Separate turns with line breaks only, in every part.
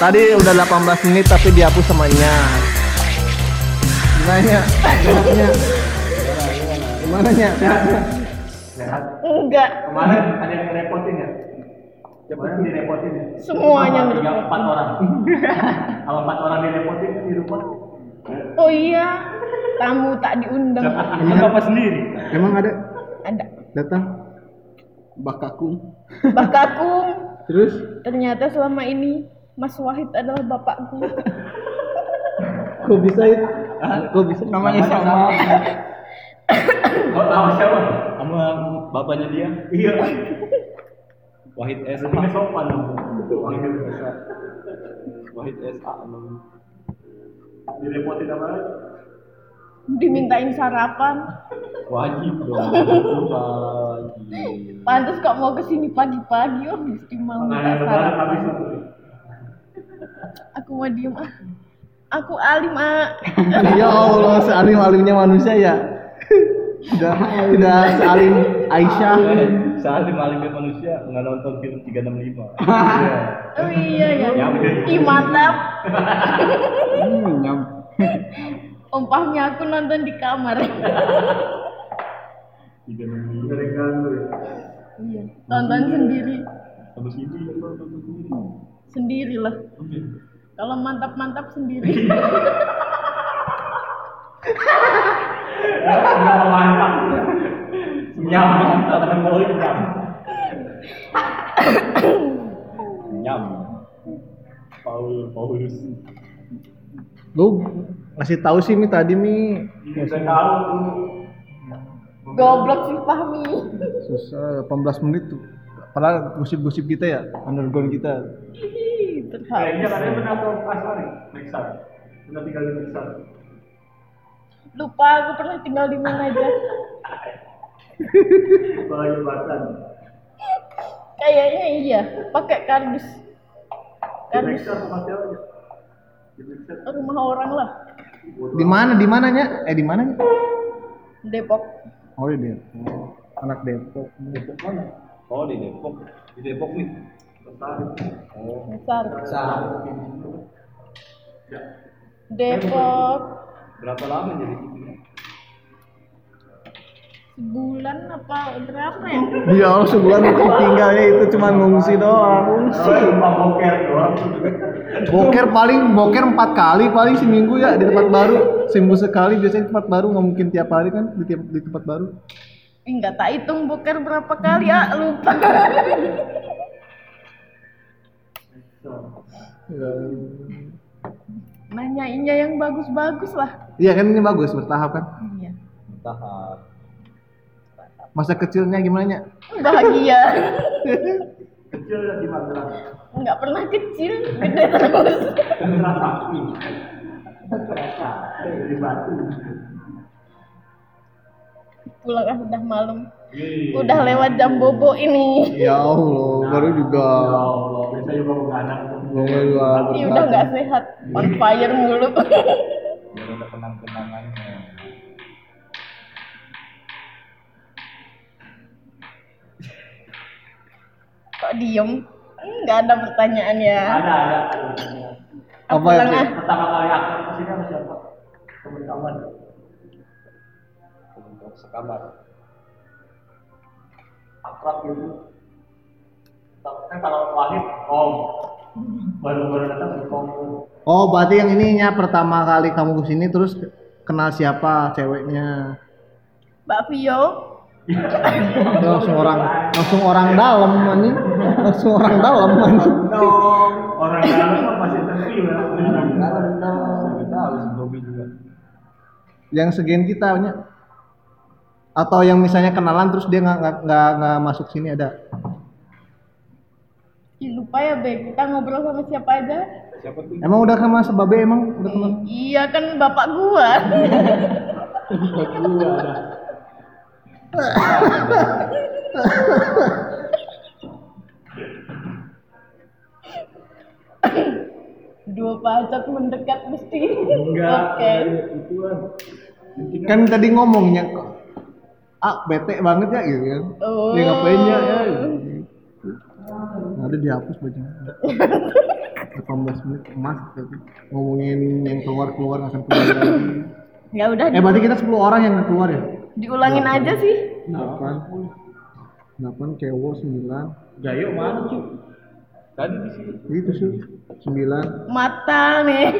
Tadi udah 18 menit tapi dihapus sama Nya. Gimana Nya? Sehatnya? Gimana Nya? Sehatnya?
Enggak,
Kemarin ada yang ngerepotin ya? Kemarin direpotin ya?
semuanya
Sama Tiga,
ngerepotin.
empat orang. Kalau empat orang direpotin di rumah.
Oh iya, tamu tak diundang
Emang bapak sendiri?
Emang ada
ada.
datang bakakung.
Bapakku
Terus
ternyata selama ini Mas Wahid adalah bapakku.
kok bisa itu? Kok bisa
Iya,
namanya sama?
Kau tahu siapa?
Sama bapaknya dia?
Iya.
Wahid S.
Berarti nggak sopan dong. Panggil biasa.
Wahid S. A.
Direpotin apa lagi?
Dimintain sarapan.
Wajib dong. Wajib.
Pantas kok mau kesini pagi-pagi, oh mesti mau minta
Nah,
Pengajian lebaran
sarapan.
habis satu.
Aku mau diem ah. Aku alim ah.
ya Allah, sealim alimnya manusia ya. Tidak, tidak sealim Aisyah.
Eh, Salim alimnya manusia nggak nonton film 365.
Oh iya ya.
Nyampe.
Ih mantap.
Hmm, nyam.
Ompahnya aku nonton di kamar.
Tiga minggu.
Mengerikan tuh ya.
Iya. Nonton sendiri.
Habis ini ya gua nonton sendiri.
Sendiri lah.
Oke.
Kalau mantap-mantap sendiri.
Nggak mau mantap. Senyap mantap. Memori senyap.
Nyam. Paul Paulus.
Lu ngasih tahu sih mi tadi mi
Nggak Iya, tahu tuh.
Goblok sih Fahmi.
susah 18 menit tuh. Padahal gosip-gosip kita ya, underground kita.
Ih, terharu.
Kayaknya katanya pernah ke pasar ya? Meksan. Pernah tinggal di Meksan.
Lupa aku pernah tinggal di mana aja.
Apalagi Batan.
Kayaknya iya, pakai kardus.
Di
Kardus
Meksan sama siapa ya? Di Meksan.
rumah orang lah,
Di mana? Di mananya? Eh di mananya?
Depok.
Oh di Depok. Anak Depok.
Depok mana?
Oh di Depok. Di Depok Oh, nih.
Tertarik.
Besar.
Sa.
Depok
Berapa lama jadi gitu?
sebulan apa berapa ya?
Ya Allah sebulan mungkin tinggalnya itu cuma ngungsi doang.
Kalau cuma boker doang.
Boker paling boker empat kali paling seminggu ya di tempat baru. Seminggu sekali biasanya di tempat baru nggak mungkin tiap hari kan di, tiap- di tempat baru.
Ih, Nggak tak hitung boker berapa kali ya, lupa.
Ya.
Nanyainnya yang bagus-bagus lah.
Iya kan ini bagus bertahap kan.
Iya.
Tahap.
Masa kecilnya gimana nya?
Bahagia.
Kecil
ya,
lagi madrasah.
Nggak pernah kecil, gede terus.
Sentra sakti. Kereta dari batu.
Pulang ah udah malam.
Iya,
Wih.
Udah lewat jam bobo ini.
Ya Allah baru juga.
Ya Allah, biasa juga begadang.
Baru juga
Ih, Ya udah
bertahap.
nggak sehat. On fire mulu.
Biar ada kenang-kenangannya.
Kok diem? Nggak ada pertanyaan ya.
Ada ada.
Apa
Pulang
itu?
ah.
Pertama kali aku kesini sama siapa? Temen kawan.
Untuk sekamar.
Akrab gitu. Kan kalau wahid om. Baru-baru datang di om.
Oh berarti yang ininya pertama kali kamu kesini terus ke- kenal siapa ceweknya?
Mbak Vio,
langsung orang langsung orang dalam anjing langsung orang dalam anjing
Orang dalam kan masih terpilih ya. Orang
Nggak tahu si Bobby juga.
yang segen kita nya atau yang misalnya kenalan terus dia nggak nggak- nggak nggak masuk sini ada
Ih, lupa ya Bek, kita ngobrol sama siapa aja?
Siapa tuh?
emang udah sama sebabe emang udah teman
Iya kan bapak gua. Dua pajak mendekat mesti.
Enggak.
Oke.
Itu kan.
kan tadi ngomongnya kok ah bete banget ya gitu kan
Oh.
gitu.
dia ngapain ya ya nggak udah dihapus bajunya 18 menit emas tapi ngomongin yang keluar keluar nggak akan keluar lagi.
Ya udah
eh berarti kita 10 orang yang nggak keluar ya
diulangin aja sih.
8 8 kewo 9
Gayo mana cuy? Tadi di sini.
itu sih 9
Mata nih.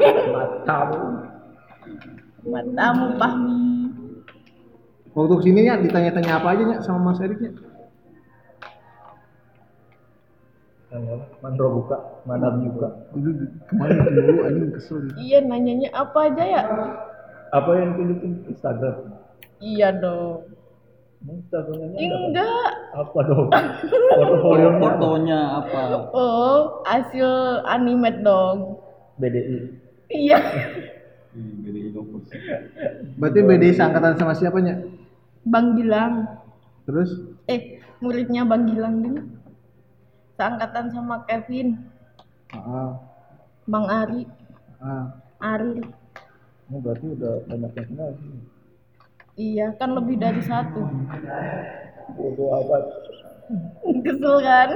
Tahu.
Matamu Fahmi.
waktu kesini ya ditanya-tanya apa aja ya sama Mas Erik ya
Mandro buka, mandam juga.
dulu kemarin dulu anjing kesel gitu.
Iya nanyanya apa aja ya?
Apa yang tunjukin Instagram?
Iya dong. Iya
Instagramnya ada apa?
Enggak.
Apa dong? Portfolio
fotonya apa
Oh, hasil animate dong.
BDI.
Iya.
berarti BDI seangkatan sama siapanya
Bang Gilang.
terus
Eh, muridnya Bang Gilang dulu. Seangkatan sama Kevin,
ah
Bang Ari,
ah
Ari.
Ini Oh, berarti udah banyak yang kenal. sih.
Iya, kan lebih dari satu.
Bodoh amat.
Kesel kan?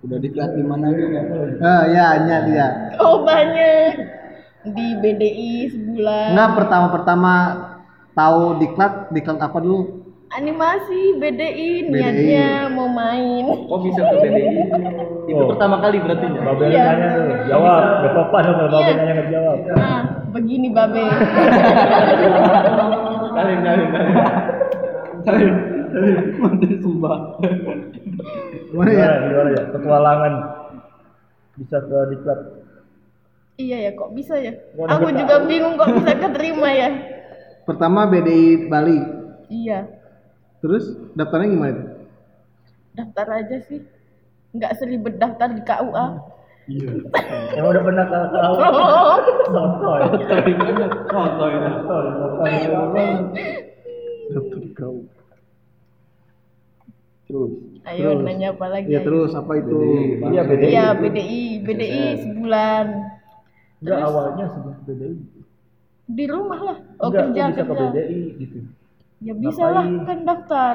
udah diklat di mana aja
ah ya ya dia
Oh banyak di BDI sebulan.
Enggak pertama-pertama tahu diklat, diklat apa dulu?
Animasi BDI niatnya mau main.
kok bisa ke BDI itu
Oh.
pertama kali berarti ya
Babel
Iya.
nanya tuh, jawab. Gak apa-apa dong kalau Babel
Iya.
nanya nggak jawab.
Nah, begini Babe.
kalian kalian kalian kalian mantan sumba
Gimana ya?
Gimana, gimana ya? Petualangan bisa ke diklat.
iya ya, kok bisa ya?
Waduh,
Aku
nggak
juga bingung kok bisa keterima ya.
Pertama BDI Bali.
Iya,
Terus daftarnya gimana itu?
daftar aja sih. Nggak seribet daftar di KUA.
Iya.
Yang udah pernah ke tahu.
Belum.
Sotoy.
tapi banyak foto ya
Sotoy. sotoy.
Daftar kau.
terus
Ayo
Terus.
nanya apa lagi?
Ya
ayo.
terus apa itu?
Iya BDI.
Iya, BDI, BDI sebulan.
Enggak awalnya sebelum ke BDI.
Di rumah lah. Oh,
Enggak,
kerja
kok bisa ke
kerja.
BDI gitu.
Ya bisa lah,
Ngapain?
kan daftar.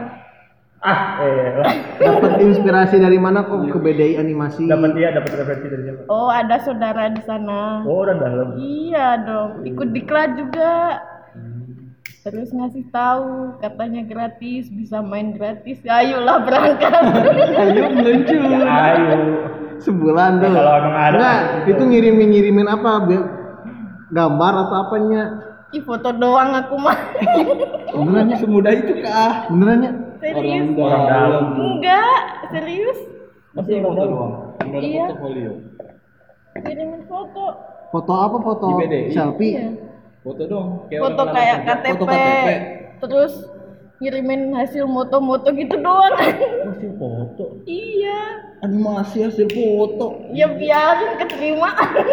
Ah, eh lah.
Dapat inspirasi dari mana kok ke BDI animasi?
Dapat dia dapat referensi dari siapa?
Oh, ada saudara di sana.
Oh, orang dalam.
Iya dong, ikut diklat juga. Terus ngasih tahu, katanya gratis, bisa main gratis. Ya, Ayolah berangkat.
Ayo lucu.
Ya, Ayo.
Sebulan tuh.
Ya, kalau emang ada.
Nggak, itu ngirimin ngirimin apa? Bi- Gambar atau apanya?
Ih, foto doang aku mah.
Benerannya
semudah itu kah
Benerannya?
orang
Serius?
dalam
Enggak, serius.
masih foto doang Nggak ada
Iya.
portofolio
Kirimin foto.
Foto apa foto?
Di BDI?
Selfie.
Iya.
foto dong
Foto
orang
kayak
lama kerja.
KTP.
foto KTP
Terus ngirimin hasil moto-moto gitu doang.
Masih foto.
iya.
animasi hasil foto
Ya biarin keterima.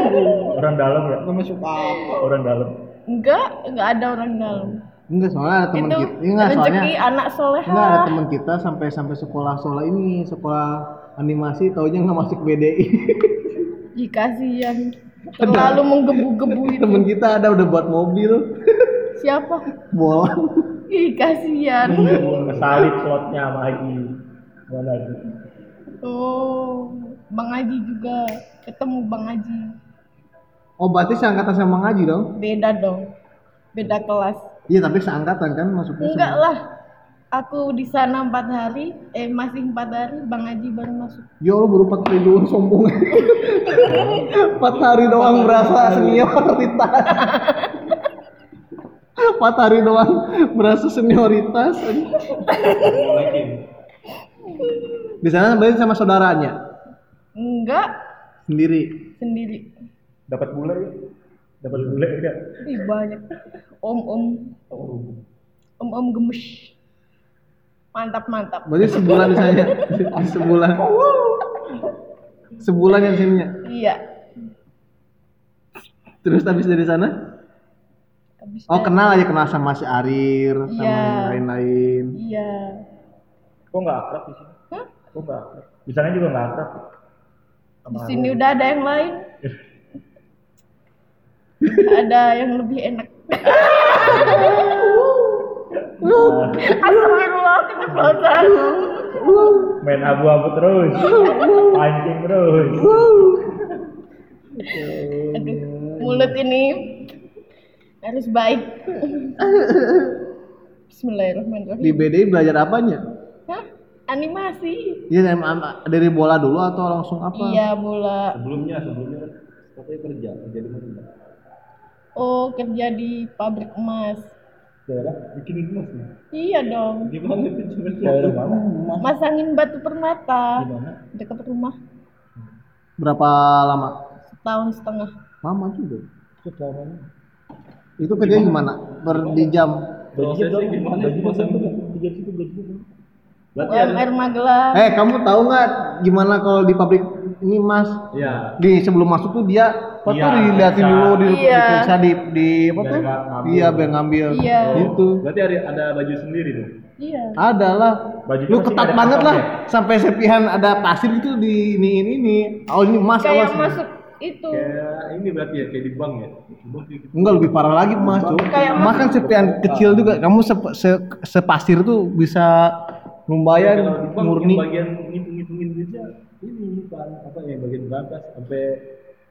Orang dalam ya.
nggak masuk apa
Orang dalam.
enggak, enggak ada orang dalam.
Enggak soalnya ada teman
Itu
kita. Enggak gitu. Iya soalnya.
rezeki anak soleh.
Enggak ada teman kita sampai sampai sekolah sekolah ini sekolah animasi taunya nggak masuk BDI
Ih, kasihan. Terlalu menggebu-gebu itu.
temen kita ada udah buat mobil
Siapa?
bola
Ih, kasihan.
Kesalip slotnya sama Haji. Mana tuh?
Oh, Bang Haji juga ketemu Bang Haji.
oh berarti seangkatan sama ngaji dong
Beda dong. Beda kelas.
iya tapi seangkatan kan masuknya sama-
Enggak lah. Aku di sana empat hari, eh masih empat hari, Bang Haji baru masuk.
ya Allah baru 4 hari doang
Oh.
sombong 4 hari doang berasa senioritas 4 hari doang berasa senioritas di sana berarti sama saudaranya
Enggak,
sendiri
sendiri.
Dapat bule ya? Dapat bule ya?
Ih, banyak. Om-om,
Oh.
om-om gemes. Mantap, mantap.
berarti sebulan di sana sebulan sebulan yang sininya
Iya.
Terus habis dari sana?
Habis
Oh
dari-
kenal aja kenal sama si Arir sama
Iya.
yang lain-lain.
Iya.
Kok nggak akrab di sini?
Hah?
Kok nggak akrab? Di sana juga nggak akrab.
Di sini udah ada yang lain. ada yang lebih enak. Astagfirullah, Keceplosan.
main abu-abu terus pancing terus
Aduh, mulut ini harus baik.
Di
Bismillahirrahmanirrahim.
BDI belajar apanya?
Hah? Animasi.
Ya em- em- dari bola dulu atau langsung apa?
Iya, bola.
Sebelumnya, sebelumnya kan katanya kerja, kerja di mana? Mbak?
Oh, kerja di pabrik emas.
Daerah bikin emas nih.
Iya dong.
Di mana itu cuma
Daerah mana? Mas.
Masangin batu permata
Di mana?
dekat rumah
Berapa lama?
setahun setengah.
Lama juga.
Kedatangan.
Itu kerja gimana? Per di jam?
Prosesnya
Gajinya berapa?
gimana?
Gajinya
Masa
berapa?
enggak?
Tiga situ gajinya berapa? Berarti ada
UMR Magelang.
Eh kamu tahu nggak gimana kalau di pabrik ini mas?
Iya.
Di sebelum masuk tuh dia apa
Iya,
tuh dilihatin
bisa.
dulu di
Iya.
diperiksa di di apa
Biar
tuh?
nggak ngambil.
Iya biar ngambil.
Iya.
Gitu.
Berarti ada, ada baju sendiri tuh.
Iya.
Ada lah.
Bajunya
Lu
pasti
ketat
ada
banget lah
kantongnya.
sampai sepihan ada pasir gitu di ini ini ini. Oh ini emas
Kayak
awas.
masuk itu.
Kayak ini berarti ya kayak di bank ya. Di bank sih.
Enggak lebih parah lagi emas tuh.
Kayak
Emas kan sepihan kecil juga. Kamu se- se- sepasir tuh bisa
Kalau di
gitu,
lumayan
bank
murni.
yang bagian ngitung-ngitungin duitnya ini kan apa yang bagian berangkas sampai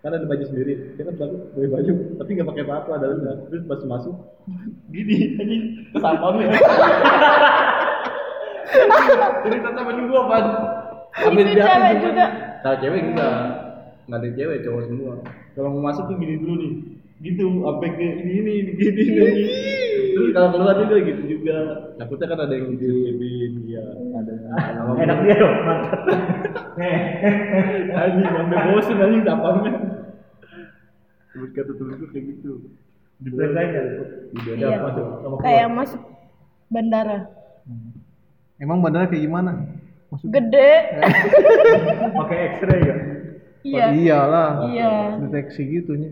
kan ada baju sendiri. Dia kan baru beli baju tapi nggak pakai apa-apa dalamnya. Terus pas masuk gini ini kesampon ya. Cerita temen gua pan. Sampai
Itu
jatuh
cewek
cuman.
juga.
Kalau Nah, cewek enggak. Enggak ada cewek, cowok semua. Kalau mau masuk tuh gini dulu nih. Gitu, sampai ke ini ini gini ini. Terus kalau keluar juga gitu juga. Takutnya kan ada yang dibin ya. Ada.
enak dia dong mantap
Anjing sampai bosen anjing tapamnya. Terus kata temen gue kayak gitu.
di brand lain ya
Udah
Iya.
ada masuk sama
Kayak masuk bandara.
Emang bandara kayak gimana? Maksudnya?
Gede.
pakai X-ray ya
Iya.
Iyalah.
Iya.
Deteksi gitu gitunya.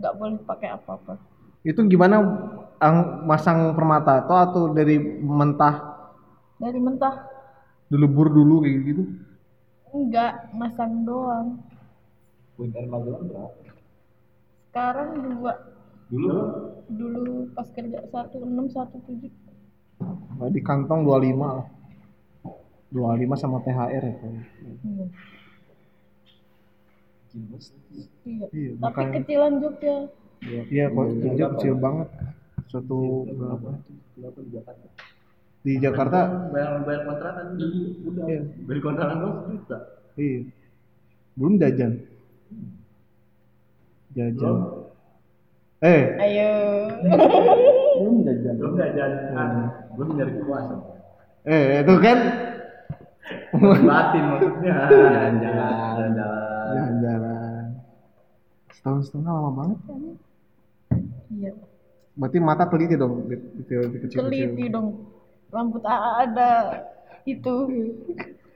Nggak boleh pakai apa-apa.
Itu gimana ang- masang permata atau atau dari mentah
Dari mentah
dilebur dulu kayak gitu?
enggak masang doang.
Winter Magelang berapa?
Sekarang dua
Dulu
dulu pas kerja satu enam satu tujuh
Nah, Di kantong 25 lah. 25 sama THR ya kayaknya.
Iya. Iya.
Iya,
Tapi
makanya.
kecilan Jogja.
Iya, kok kecil, kecil banget. Satu berapa? Di Jakarta.
bayar bayar kontrakan udah.
Iya.
Beli kontrakan gua sejuta.
Iya. Belum jajan. Jajan. Eh,
Ayo.
Belum jajan.
Belum jajan. Iya. Belum nyari kuasa.
eh itu kan
batin maksudnya jalan jalan
jalan-jalan. Setahun setengah lama banget.
Iya.
Berarti mata teliti dong, di, di, di kecil-kecil.
Teliti iya dong. Rambut AA ada itu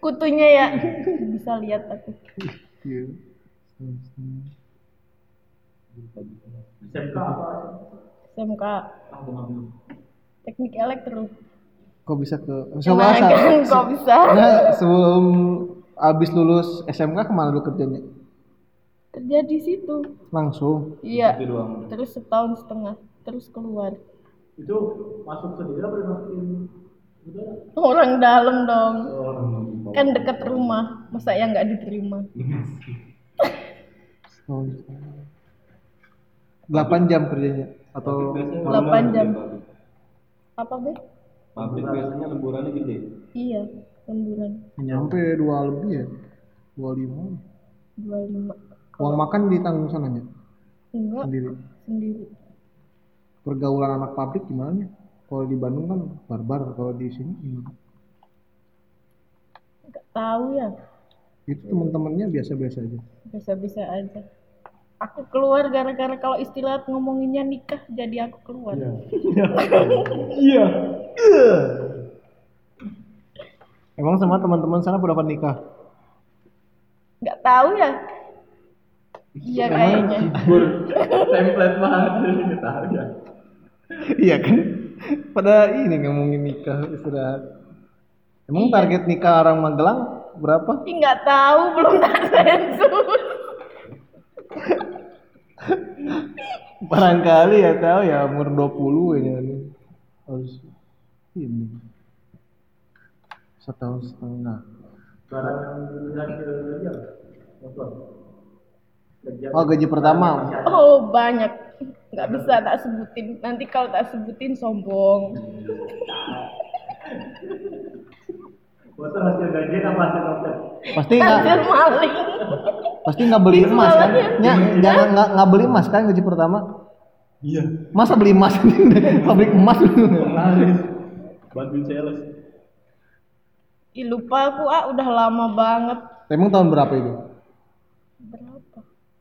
kutunya ya. Bisa lihat aku.
Iya.
SMK apa
SMK teknik elektro.
Kok bisa Nah. ke
Gimana
Soalnya
kan? Kok bisa?
sebelum abis lulus SMK kemana lu kerjanya?
Kerja di situ.
Langsung.
Iya.
Itu doang.
Terus setahun setengah. Terus keluar.
itu masuk ke daerah apa masukin udara
Orang dalam dong.
orang
kan dekat rumah masa ya nggak diterima
Iya
Setahun setengah. 8 jam kerjanya atau
Delapan jam. apa be
pabrik biasanya lemburannya gede
iya lemburan
nyampe dua lebih ya? Dua lima.
dua lima
Uang makan ditanggung sananya
enggak
sendiri.
sendiri
Pergaulan anak pabrik gimana? Kalau di Bandung kan barbar, kalau di sini gimana?
nggak tahu ya
Itu teman-temannya biasa-biasa aja.
bisa-bisa aja aku keluar gara-gara kalau istilah ngomonginnya nikah jadi aku keluar
Emang sama teman-teman sana udah pada nikah?
nggak tahu ya iya kayaknya
template banget tahu ya
iya kan? Pada ini ngomongin nikah istirahat. Emang target nikah orang Magelang berapa?
Ih, nggak tahu belum ada sensus
ya, kan? Barangkali ya tahu ya umur 20 kayaknya. Harus ini. setahun setengah
Barang bulan ke jam. Nonton. Kerja.
oh gaji pertama
Oh banyak, nggak bisa tak sebutin. Nanti kalau tak sebutin sombong.
Foto hasil kan gajian apa hasil konten?
pasti
Hasil
nggak
maling.
pasti nggak beli emas kan
Jualannya.
ya jangan nggak nggak beli emas kan gaji pertama
Iya.
masa beli emas pabrik emas
Laris. Bantuin sales.
Ih, lupa aku ah udah lama banget.
emang tahun berapa itu
Berapa?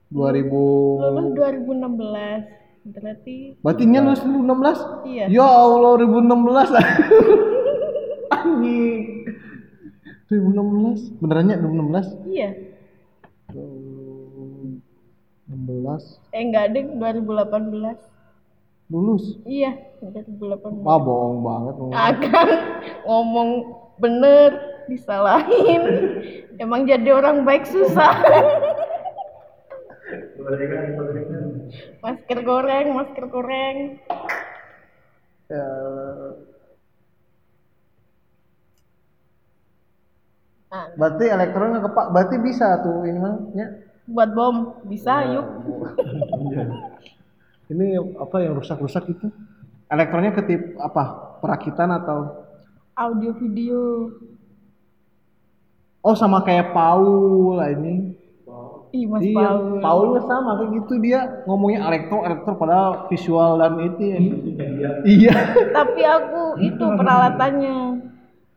2000
Lulus 2016. Berarti
berarti nya lulus 2016
iya.
ya Allah 2016 anjing 2016 benerannya 2016
Iya.
16
Eh enggak deh 2018.
lulus
Iya, 2018.
wah bohong banget lu.
Ya. Akan ngomong bener disalahin. Emang jadi orang baik susah.
Kemerdekaan, kemerdekaan.
masker goreng, masker goreng.
Eh,
Nah,
berarti elektron kepak berarti bisa tuh ini mah Nya.
buat bom bisa
Iya.
yuk.
ini apa yang rusak-rusak itu elektronnya ketip apa perakitan atau
Audio video.
oh sama kayak Paul lah ini
Ih, Mas
Iya,
Paul.
Paul mah sama kayak gitu dia ngomongnya elektro elektro padahal visual dan itu ya. iya
Tapi aku itu peralatannya.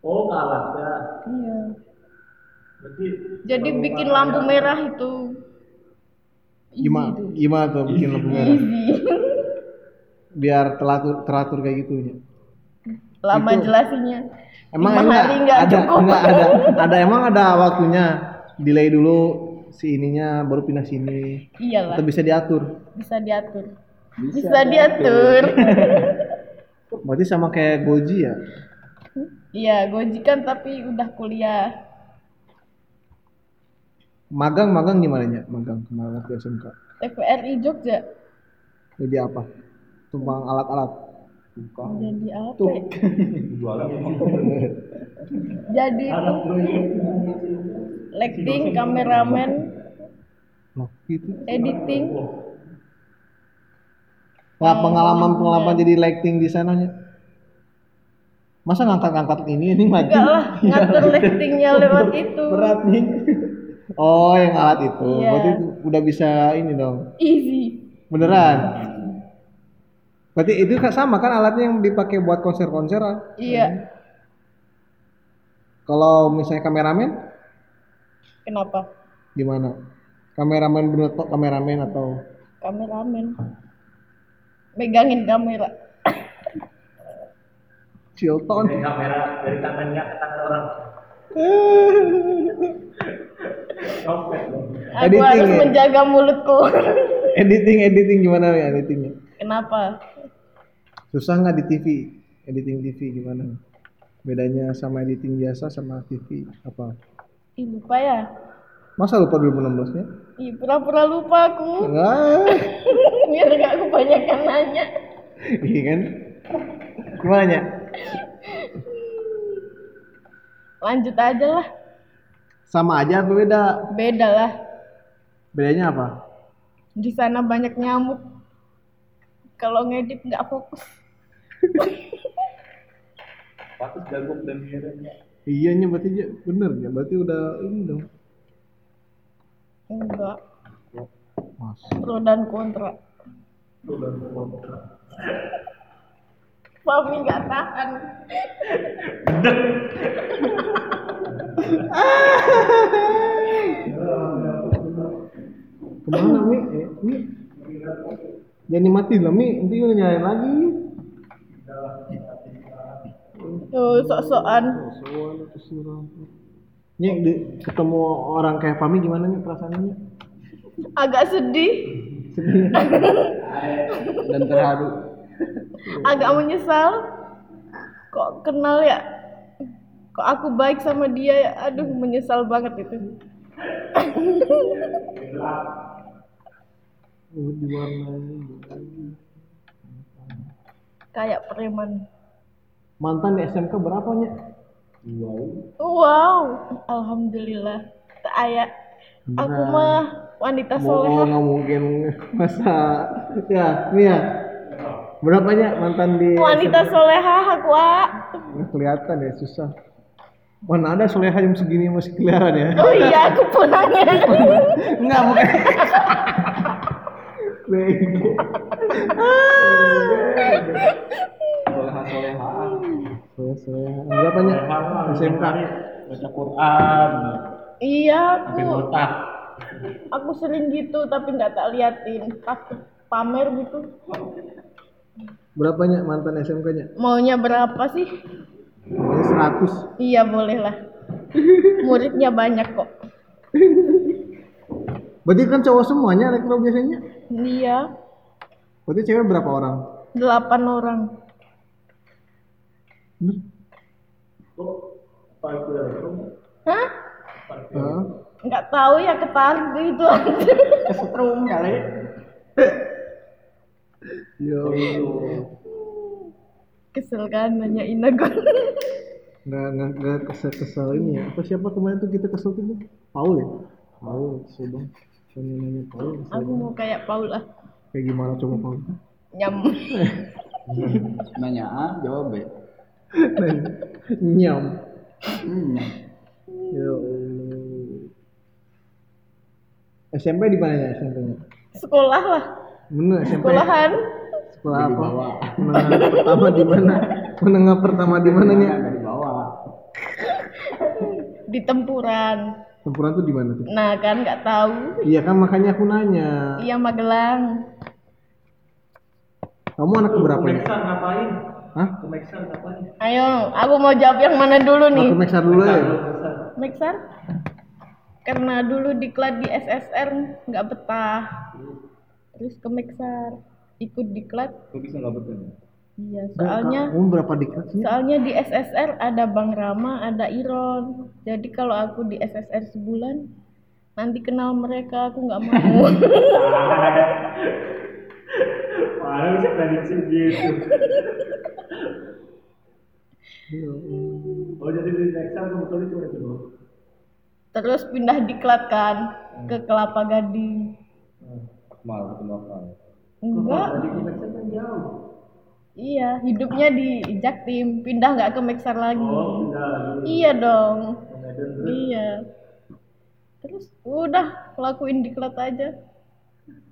Oh, kalah ya.
Iya.
Berarti
Jadi bikin lampu merah itu. Easy
gimana
tuh.
gimana tuh bikin lampu
Iya.
merah
Easy.
biar teratur teratur kayak gitu ya
Lama
Itu.
jelasinnya.
emang
Lima
enggak,
hari nggak
ada
cukup.
enggak ada ada emang ada waktunya delay dulu si ininya baru pindah sini
Iyalah,
atau bisa diatur
bisa diatur. Bisa, diatur.
berarti sama kayak Goji ya
Iya, gojikan tapi udah kuliah.
magang magang gimana ya magang kemarin waktu SMK
TVRI Jogja.
jadi apa tumpang alat-alat
Jadi apa?
Tuh.
ya? Jadi itu lighting, kameramen,
Loh, gitu
editing.
Wah,
Oh,
pengalaman pengalaman
iya.
jadi lighting di sananya. Masa ngangkat-ngangkat ini ini
Enggak
lighting?
lah, ngatur lightingnya lewat itu.
nih. Oh, yang alat itu.
Iya.
Berarti itu udah bisa ini dong.
Easy.
Beneran. Berarti itu kan sama kan alatnya yang dipakai buat konser-konser. ah?
Iya.
Kalau misalnya kameramen
Kenapa?
gimana? Kameramen bener to- kameramen atau
Kameramen. Megangin kamera.
Chilton?
dari kamera dari tangannya ke tangan orang. Copet.
Aku
Editing
harus
ya?
menjaga mulutku.
editing editing gimana ya editingnya?
Kenapa?
Susah nggak di TV? Editing TV gimana? Bedanya sama editing biasa sama TV apa?
Ih, lupa ya.
Masa lupa 2016-nya?
Ih, pura-pura lupa aku.
Enggak.
biar gak kebanyakan nanya
Iya kan? Gimana ya?
lanjut aja lah
Sama aja apa beda?
beda lah
Bedanya apa?
di sana banyak nyamuk kalau ngedit nggak fokus
Patus gagok dan mirip.
Iya nya berarti ya, bener ya. Berarti udah ini dong.
enggak
Mas.
pro dan kontra Mami nggak tahan
Kemana Mi? Eh, Mi? Jangan dimatiin lah Mi. Nanti udah nyalain lagi.
tuh sok-sokan
Soalnya kesurupan. Nyek, di- ketemu orang kayak Pami gimana nih perasaannya?
agak sedih
Dan terharu.
agak menyesal kok kenal ya kok aku baik sama dia ya? aduh menyesal banget itu
Oh, diwarnai.
kayak preman
Mantan di SMK berapa nya?
Wow.
Wow, alhamdulillah. Saya aku
Beneran.
mah wanita
Bohong
soleh.
nggak mungkin masa ya Mia berapanya mantan di
Wanita solehah aku ah.
Nggak kelihatan ya susah mana ada soleha jam segini masih kelihatan ya
Oh iya, aku punangnya.
enggak bukan Bego.
Soleha soleha.
Soleha, soleha. berapanya
Iya,
SMK
baca Quran
iya,
sampai
aku
botak
aku sering gitu tapi nggak tak liatin. Takut pamer gitu.
berapanya mantan SMK nya
Maunya berapa sih?
Pokoknya seratus
Iya, boleh lah. Muridnya banyak kok.
berarti kan cowok semuanya ada kalau biasanya
Iya,
berarti cewek berapa orang
delapan orang. Hah?
Hah?
Nggak tahu ya ketarik gitu.
Kesetrum kali.
Yo,
Kesel kan nanyain aku.
nggak nggak nggak kesel kesel ini ya. Apa siapa kemarin tuh kita kesel tuh? Paul ya? Paul, kesel bang. Tanya nanya Paul, kesel
aku mau kayak Paula.
kayak gimana coba Paul?
Nyam.
Nanya A, jawab B.
Nanya. Nyam.
Hmm.
Yo. Allah. SMP di mana ya SMP-nya?
Sekolah lah.
Bener SMP.
Sekolahan.
Sekolah apa? Menengah pertama di mana? Menengah pertama di mana nih?
Dari bawah.
Di tempuran.
Tempuran tuh di mana tuh?
Nah kan nggak tahu.
Iya kan makanya aku nanya.
Iya Magelang.
Kamu anak keberapa ya?
Kemeksan ngapain
Hah?
Kemeksan ngapain
Ayo, aku mau jawab yang mana dulu nih?
Aku meksa dulu ya.
Kemeksan.
Meksan? Karena dulu diklat di SSR nggak betah. Terus ke Meksan ikut diklat.
Kok bisa nggak betul?
Iya,
Soalnya
soalnya
kamu berapa diklat sih?
Soalnya di SSR ada Bang Rama, ada Iron. Jadi kalau aku di SSR sebulan, nanti kenal mereka aku nggak mau.
Wah, lu bisa prediksi gitu. Oh, jadi di Nexan kebetulan cuma itu doang.
Terus pindah diklat kan
Hmm.
ke Kelapa Gading.
Akmal, ketemu Akmal.
Enggak,
Jadi di Nexan kan jauh.
iya hidupnya di Jaktim, pindah nggak ke Mexar lagi.
Oh, pindah lagi
Iya dong,
ke Medan terus.
iya. Terus udah lakuin diklat aja,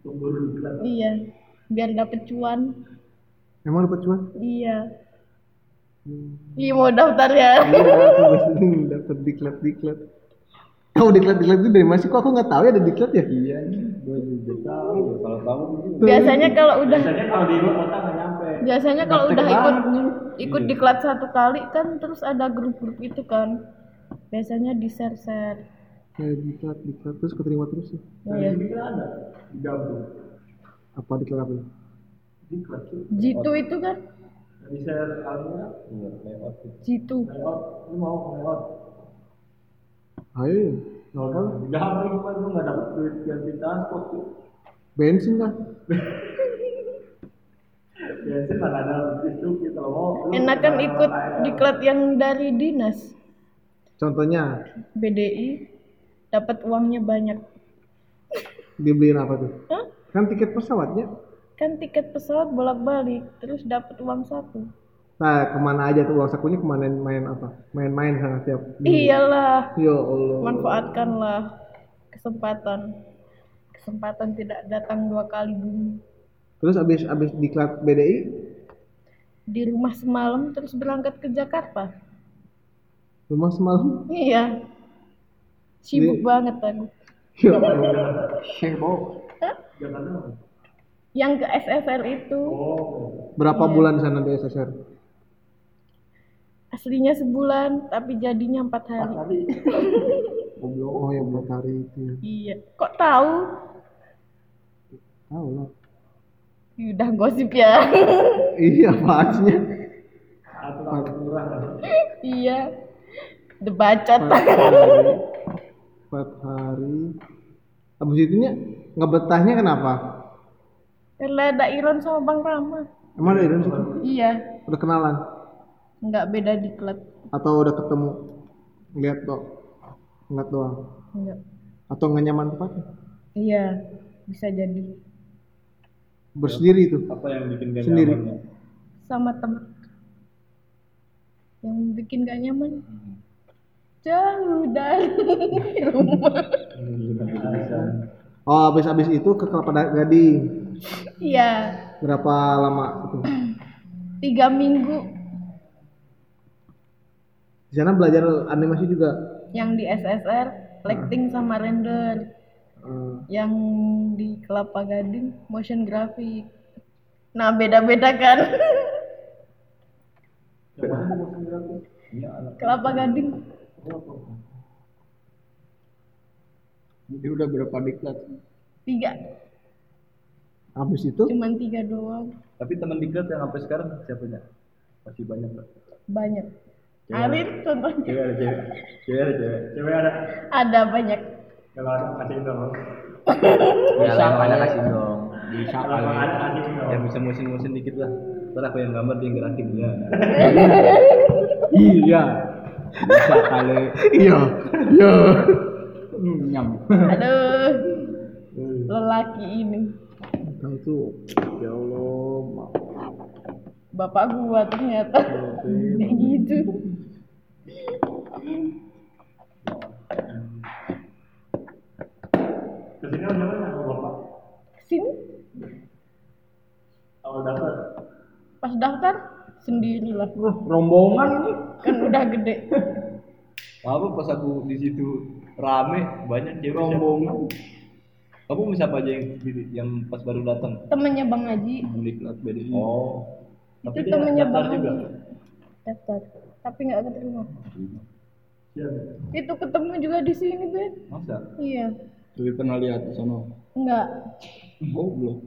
Tunggu di Nexan.
iya. Biar dapet cuan,
Emang dapat cuan?
iya.
Hmm.
Ih mau daftar ya?
Iya, aku biasanya dapat diklat diklat. Kau diklat diklat itu dari mana sih? Kok aku nggak tahu ya ada diklat ya?
Iya nih, gue juga tahu. Kalau tahu gitu.
Biasanya kalau udah
Hmm. Biasanya kalau di luar kota nggak Iya. nyampe.
biasanya kalau udah
Praktek
ikut
banget nih.
ikut diklat satu kali kan terus ada grup-grup itu kan biasanya di share share
Ya, diklat diklat terus keterima terus ya.
Oh, iya.
Di sini kan ada. Di Gambung.
Apa diklat apa?
Di kelas tuh.
jitu itu kan
Nggak Bisa kalungnya.
Iya, layout gitu.
jitu
Lewat. Lu mau lewat.
Ayo, nggak tahu.
Di Gambung cuma lu nggak dapet duit ganti transport tuh.
Bensin lah.
Ya,
Bensin mana ada lebih sedikit kalau mau. lu
enakan
kenal
ikut
KRL.
diklat yang dari dinas
Contohnya
BDI dapat uangnya banyak
dibeliin apa tuh?
Hah?
Kan tiket pesawatnya.
kan tiket pesawat bolak-balik terus dapat uang saku
Hmm.
Nah, kemana aja tuh uang sakunya kemana main apa? Main-main sana tiap.
Iya. iyalah
Ya Allah.
manfaatkanlah kesempatan kesempatan tidak datang dua kali bumi
Terus abis abis diklat BDI,
di rumah semalam terus berangkat ke Jakarta
rumah semalam.
Iya. Sibuk
Jadi-
banget aku.
Ya Allah. Eh, Heboh.
Jakarta. apa?
Yang ke SSR itu
Oh.
Berapa bulan di sana di SSR?
aslinya sebulan tapi jadinya empat hari.
Goblok. Oh, yang buat hari itu. ya.
Iya. Kok tahu?
Tahu lah.
Ih, Udah gosip ya.
Iya, pastinya.
atau kalau murah kan
iya. Debacot.
Empat hari. Empat hari. Abis itu nya ngebetahnya kenapa?
Karena ada Iron sama Bang Rama.
Emang ada Iron situ?
Iya.
Udah kenalan.
nggak beda diklat
atau udah ketemu lihat dong ngeliat doang
nggak
atau nggak nyaman tempatnya
iya bisa jadi
bersendiri itu
apa yang bikin gak
Sendiri.
nyamannya?
sama teman yang bikin gak nyaman jauh dari rumah
ya.
oh abis abis itu ke kelapa Da- gading
iya
berapa lama itu
tiga minggu
di sana belajar animasi juga
yang di SSR lighting sama render
Eh,
yang di Kelapa Gading motion graphic nah beda-beda kan Kelapa Gading
Jadi udah berapa diklat?
tiga
abis itu
cuman tiga doang
tapi teman diklat yang sampai sekarang siapanya masih banyak pak
banyak Arin contohnya
Iya.
cewek ada cewek cewek ada cewek
Cewek ada.
ada banyak
Kalau ada kasih dong.
Iya
Bisa kali.
dong ya?
Bisa
Kalau
kali.
ada kasih dong.
yang bisa musim-musim dikit lah ntar aku yang gambar dia yang gerakin ya
Iya. Bisa kali.
iya iya
Hmm, Nyam.
aduh lelaki ini
Tahu tuh ya allah maaf
bapak gua ternyata kayak gitu
Kesini udah mana sama bapak?
sini
Kalau dapat.
pas daftar sendirilah
Wah, rombongan ini
kan udah gede
apa pas aku di situ rame banyak cewek rombongan kamu bisa apa aja yang sendiri- yang pas baru datang
temennya bang Haji
teman diklat BDI oh
itu
tapi dia
temennya
daftar
bang Haji
juga
daftar tapi nggak keterima
Iya.
itu ketemu juga di sini Ben
masa
iya
Tapi pernah lihat di sana.
enggak
Oh, belum.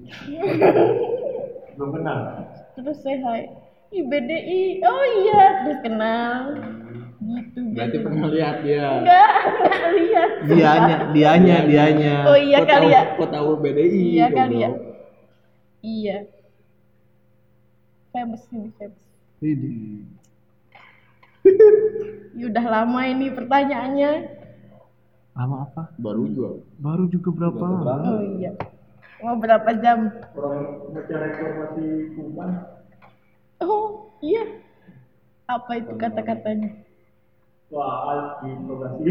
Belum kenal.
terus saya hai IBDI oh iya terus kenal gitu
Berarti
Ben
pernah lihat dia.
enggak enggak lihat
dianya dianya dianya
oh iya
Kok
kali
tahu-
ya
Kok tahu BDI?
Iya kali ya.
goblok.
iya famous ini famous
Widih.
Ya udah lama ini pertanyaannya
lama apa
Baru juga.
baru juga berapa lama?
oh iya mau berapa jam
Orang mencari informasi kuman.
oh iya apa itu kata-katanya
Wah, ada informasi.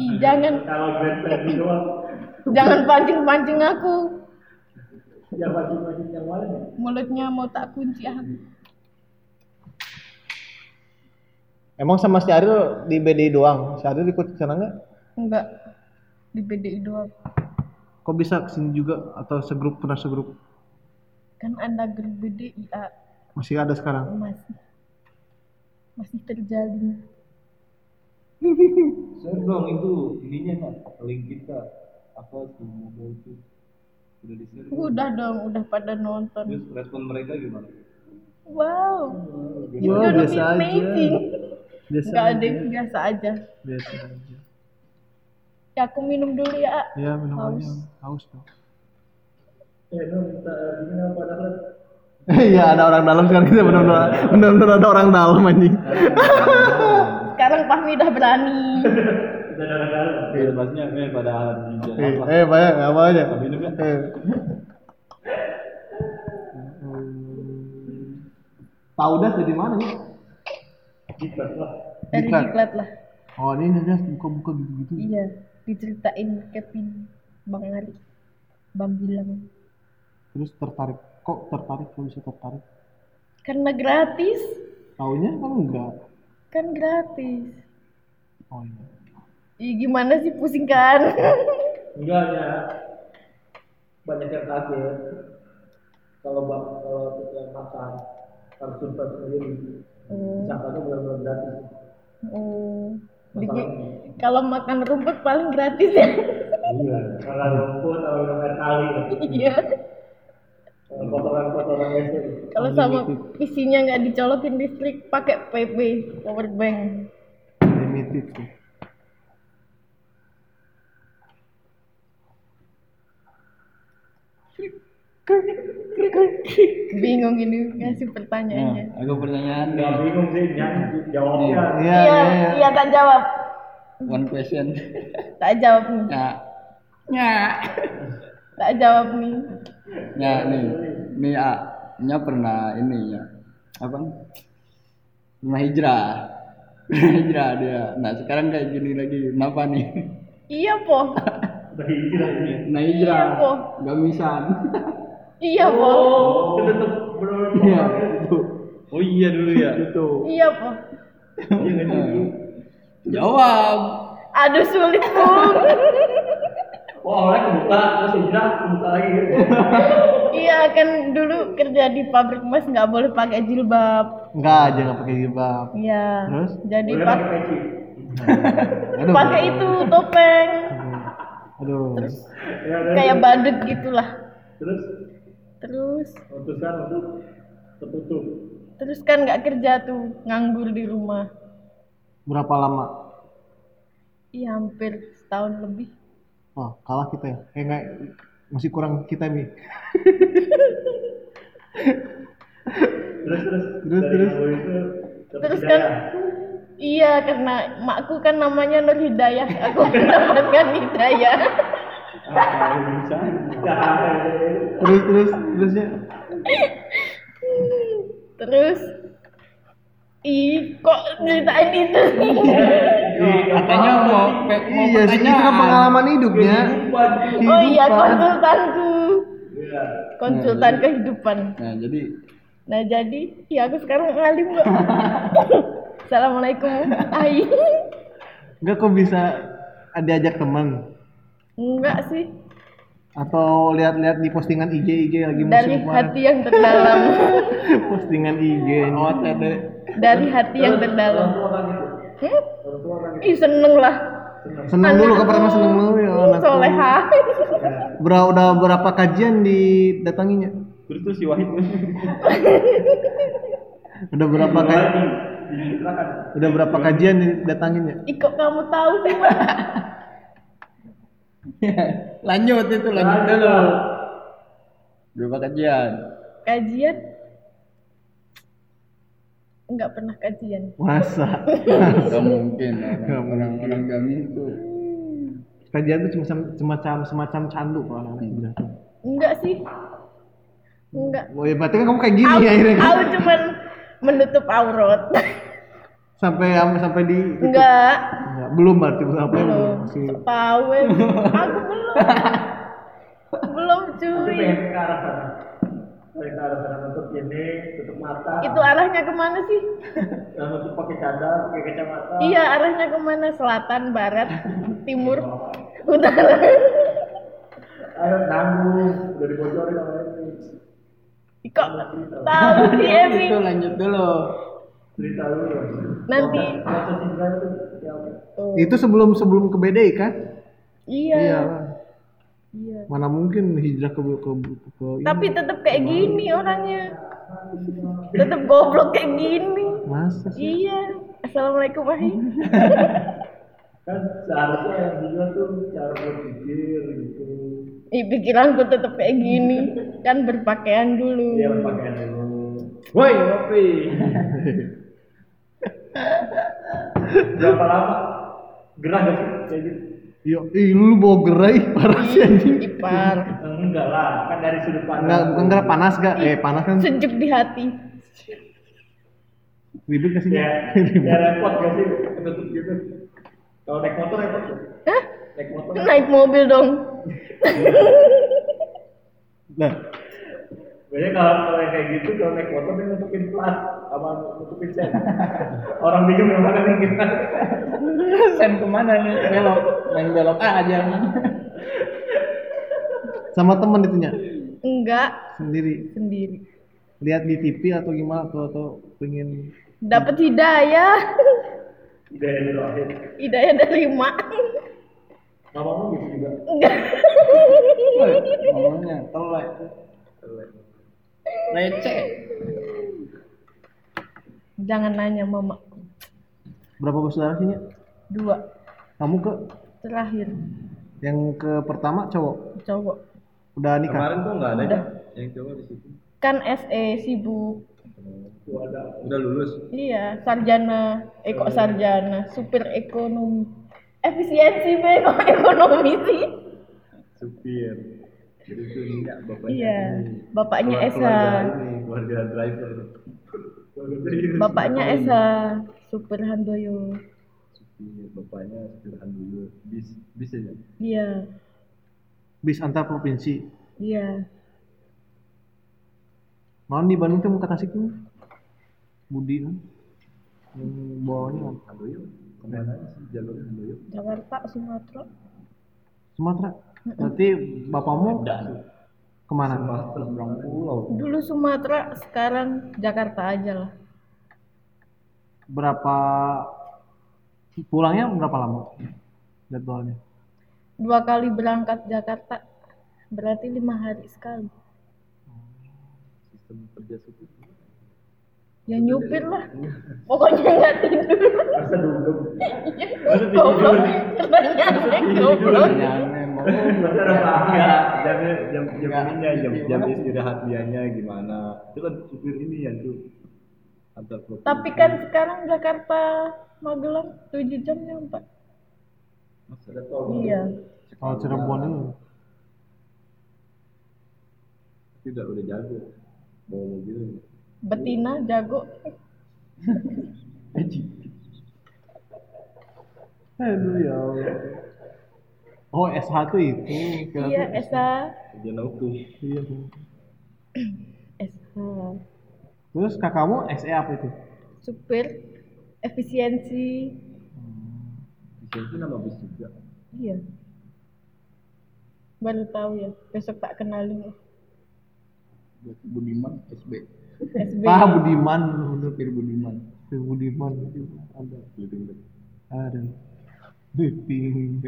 Ih, jangan
Kalau gitu, grand prix doang.
jangan pancing-pancing aku
Yang bagi-bagi yang lain.
mulutnya mau tak kunci ah. aku.
Emang sama si Ariel di BDI doang? Si Ariel ikut ke sana nggak?
enggak di BDI doang
Kok bisa kesini juga? Atau segrup, pernah segrup?
kan anda grup BDI A,
Masih ada sekarang?
masih masih terjalin
share dong itu ininya kan link kita apa tuh mobile itu udah di share
udah dong udah pada nonton
terus respon mereka gimana
wow itu
Wow,
gonna
biasa aja.
be amazing
Biasa
enggak ada
aja.
yang biasa aja
Biasa aja.
ya aku minum dulu ya A.
Ya minum
Haus.
aja. Haus dong.
Eh, lu minta gimana apa dapat?
Iya ada orang dalam sekarang kita benar-benar benar-benar ada orang dalam anjing.
sekarang Fahmi udah berani
Kita dalam-dalam.
Bebasnya eh pada hari
Eh,
jalan apa
eh banyak nggak apa aja.
minum ya
Eh. Tahu dah dari mana nih?
Kita lah.
dari
Diklat.
diklat lah
Oh ini udah buka-buka
Hmm.
gitu-gitu.
iya diceritain Kevin Bang Ari Bang Bilang
Terus tertarik. Kok tertarik? Kok bisa tertarik?
karena gratis
Taunya kan enggak.
kan gratis
Oh iya.
Ih, gimana sih pusing kan?
Enggak ya. Banyak yang kaget. Kalau bak kalau kita makan harus survei sendiri.
oh,
Sangkanya benar-benar gratis.
oh. Dikit. Kalau makan rumput paling gratis ya.
Iya. Kalau
Hmm.
rumput kalau yang air kali. ya.
Iya.
Kalau Kotoran-kotoran WC.
Kalau sama isinya nggak dicolokin listrik, pakai PP power bank.
limited sih
Bingung ini ngasih
Nah,
pertanyaannya.
aku pertanyaan
Gak
nih.
bingung sih, jangan jawabnya.
Hmm.
Iya,
Iya, iya tak jawab.
One question.
Tak jawab nih.
Nah,
Tak jawab nih.
ya nih, nih A, nya pernah ini ya. Apa? Pernah hijrah. Pernah hijrah dia. Nah, sekarang kayak gini lagi. Kenapa nih?
Iya po.
Udah hijrah ini.
Nah, hijrah.
Iya, Po.
Gamisan.
Iya po.
Oh, kita tetap benar-benar
Iya,
kompak ya.
gitu.
itu.
Oh iya dulu ya.
Itu.
Iya po.
Iya nggak sih, dulu?
Jawab.
Aduh sulit bung.
Wah, awalnya kebuka, terus hijrah, kebuka lagi gitu.
iya kan dulu kerja di pabrik mas nggak boleh pakai jilbab.
Enggak, jangan pakai jilbab.
Iya.
Terus?
Jadi
Boleh pakai
pak-
peci.
Aduh.
pakai itu topeng.
Aduh.
Ya, dan-
Kayak badut gitulah.
Terus
Terus
memutuskan untuk tertutup.
terus kan nggak kerja tuh nganggur di rumah.
Berapa lama?
Iya hampir setahun lebih.
Wah, kalah kita ya. Eh enggak masih kurang kita nih.
Terus terus
Terus,
dari
terus.
awal itu dapat
Terus kan
hidayah.
Iya karena makku kan namanya Nur Hidayah, aku mendapatkan hidayah.
Ah, bisa. Ya,
Terus terus ya. terusnya.
Terus Ih, kok ceritain itu sih?
Katanya mau pe- mau
Iya, sih itu kan
ah,
pertanyaan.
pengalaman hidupnya.
Oh iya,
Kehidupan.
konsultanku.
Iya.
Konsultan kehidupan.
Nah, jadi
Nah, jadi ya aku sekarang ngalim kok. Assalamualaikum. Ai.
Enggak kok bisa diajak teman
Enggak sih.
atau lihat-lihat di postingan IG IG lagi musim
Dari
kemarin.
hati yang terdalam.
postingan IG
awatnya dari
Dari hati yang terdalam.
Orang tua kan gitu.
Hmm?
Orang tua kan gitu.
Ih, seneng lah.
seneng dulu kan pertama seneng dulu ya anakku
Soleha.
Bra- udah berapa kajian didatanginya
Terus tuh si Wahid
udah berapa
Orang
kajian
ini dihijrahkan.
udah berapa kajian didatanginya
Ih, kok kamu tahu sih, Mas?
lanjut itu lanjut dulu. Berapa kajian?
kajian nggak pernah kajian
masa
Gak mungkin
Nggak mungkin.
orang orang kami itu
kajian itu semacam semacam semacam candu kalau anak-anak bilang
enggak sih enggak
oh ya berarti kan kamu kayak gini
aku,
ya akhirnya kan?
aku cuman menutup aurat
sampai sampai di itu.
enggak
Enggak, belum berarti belum apa belum
belum
Hmm, masih
sepawe aku belum belum
Tapi
cuy
pengen ke arah sana. Pengen ke arah sana nutup ini, tutup mata.
itu arahnya kemana sih
Dan nutup pakai cadar, pakai kacamata.
iya arahnya kemana selatan barat timur
Iya.
utara
Ayo nanggung, udah dibocorin sama ini.
kok
Iya, gitu.
tahu sih Emi
itu lanjut dulu
Cerita dulu. dong.
nanti
Proses- Proses hijrah itu ya apa?
tuh.
itu sebelum sebelum ke BDI kan
iya
Iyalah.
iya
mana mungkin hijrah ke ke ke, ke ini.
tapi tetap kayak gini orangnya tetap goblok kayak gini
masa sih
iya assalamualaikum wahai
Kan seharusnya yang hijrah tuh cara berpikir gitu.
Ih, pikiranku tetap kayak gini kan berpakaian
Iya,
Dia
dulu
berpakaian dulu.
Woi, Wapi.
berapa lama gerah gak sih kayak gitu
Yo, Iya. ih, lu bawa gerai parah sih anjing.
Ih, ipar
enggak lah kan dari sudut
Enggak,
pandang
bukan gerai panas gak? Eh, panas kan
sejuk di hati
ribet gak sih?
Iya.
ya,
Ribet.
ya repot gak sih ketutup gitu kalau naik motor repot gak?
Hah?
naik motor
naik mobil dong
Nah,
biasanya kalau kalau yang kayak gitu kalau naik motor dia nutupin plat sama nutupin sen orang bingung yang mana nih kita
sen kemana nih belok main belok aja
sama temen itunya
enggak
sendiri
sendiri
lihat di TV atau gimana atau atau pengen
dapat hidayah
dari rohit
hidayah dari mak
mamamu gitu juga
enggak
Woi, ngomongnya telek leceh
jangan nanya mamaku
berapa bersaudara sih Nya?
dua
kamu ke
terakhir
yang ke pertama cowok
cowok
udah nikah
Kemarin kok nggak ada ya?
udah
yang cowok di situ
Kan SE sibuk.
Wadah.
udah lulus
Iya, sarjana,
Oh,
eko
iya.
sarjana, supir ekonomi. Efisiensi be kok ekonomi sih.
supir jadi itu enggak bapaknya
Iya,
ini.
bapaknya Iya,
Keluar-
Esa.
keluarga ini keluarga driver Keluarga driver.
Bapaknya Esa, supir Handoyo.
Supir, Iya, bapaknya sekolahan dulu bis bis aja
Iya,
bis antar provinsi
iya.
mau di Bandung tuh mau ke Tasik tuh Budi kan hmm, bawahnya apa?
Handoyo kemana sih jalurnya Handoyo
Jakarta, Sumatera.
Sumatera berarti bapakmu kemana
Seberang pulau
Dulu Sumatera, sekarang Jakarta aja lah.
berapa pulangnya berapa lama jadwalnya
Dua kali berangkat Jakarta, berarti lima hari sekali.
sistem kerja supir
Ya nyupir lah. Pokoknya nggak tidur. Iya,
Masa duduk.
Goblok. Kerjanya aneh, goblok.
Masa ada
Iya.
jamnya jam jam
Enggak.
ininya jam
Gimana?
jam istirahat dianya gimana itu kan supir ini yang tuh antar provinsi.
Tapi kan sekarang Jakarta Magelang 7 jam nyampe.
Masa?
Ada tol.
Iya.
kalau Cirebon ini
tidak udah jago bawa mobil
Betina jago.
aduh ya Allah oh S1 itu kira
Iya, Esa.
kerja nauku
iya tuh.
Esa.
terus kakakmu SE apa itu
Supir efisiensi.
bisa itu nama bis juga
Iya. Baru tahu ya. Besok tak kenalin ya,
Budiman SB.
SB.
ah Budiman
Supir Budiman.
Si Budiman ada
leading back
ada Biping.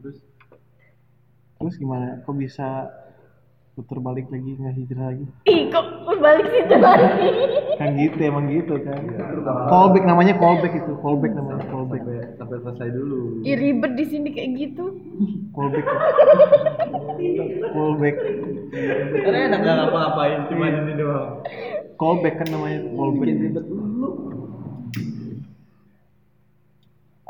terus
terus gimana kok bisa putar balik lagi nggak hijrah lagi
Ih, kok balik situ lagi.
kan gitu emang gitu kan callback namanya callback itu callback namanya callback
sampai sampai selesai dulu
Ih, ribet di sini kayak gitu.
callback callback
karena enak nggak ngapa-ngapain cuma ini doang
callback kan namanya callback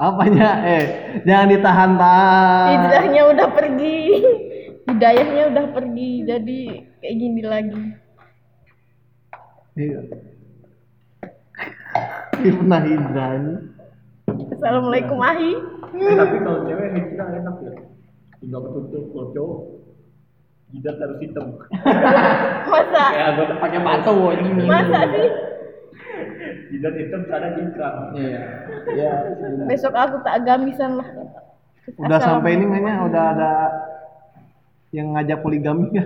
apanya eh jangan ditahan-tahan
Hijrahnya udah pergi. Hidayahnya udah pergi. Jadi kayak gini lagi.
iya Ih, pernah hijrah ini.
Assalamualaikum Ahi.
Eh, tapi kalau cewek hijrah enak ya. Tinggal ketutup kalau cowok. Jidat harus hitam.
Masa
Pakai batu
Iya.
ini.
masa sih
Jidat hitam cara cingkrang.
Iya.
besok aku tak agamisan lah.
udah sampai ini kayaknya udah ada yang ngajak poligami ya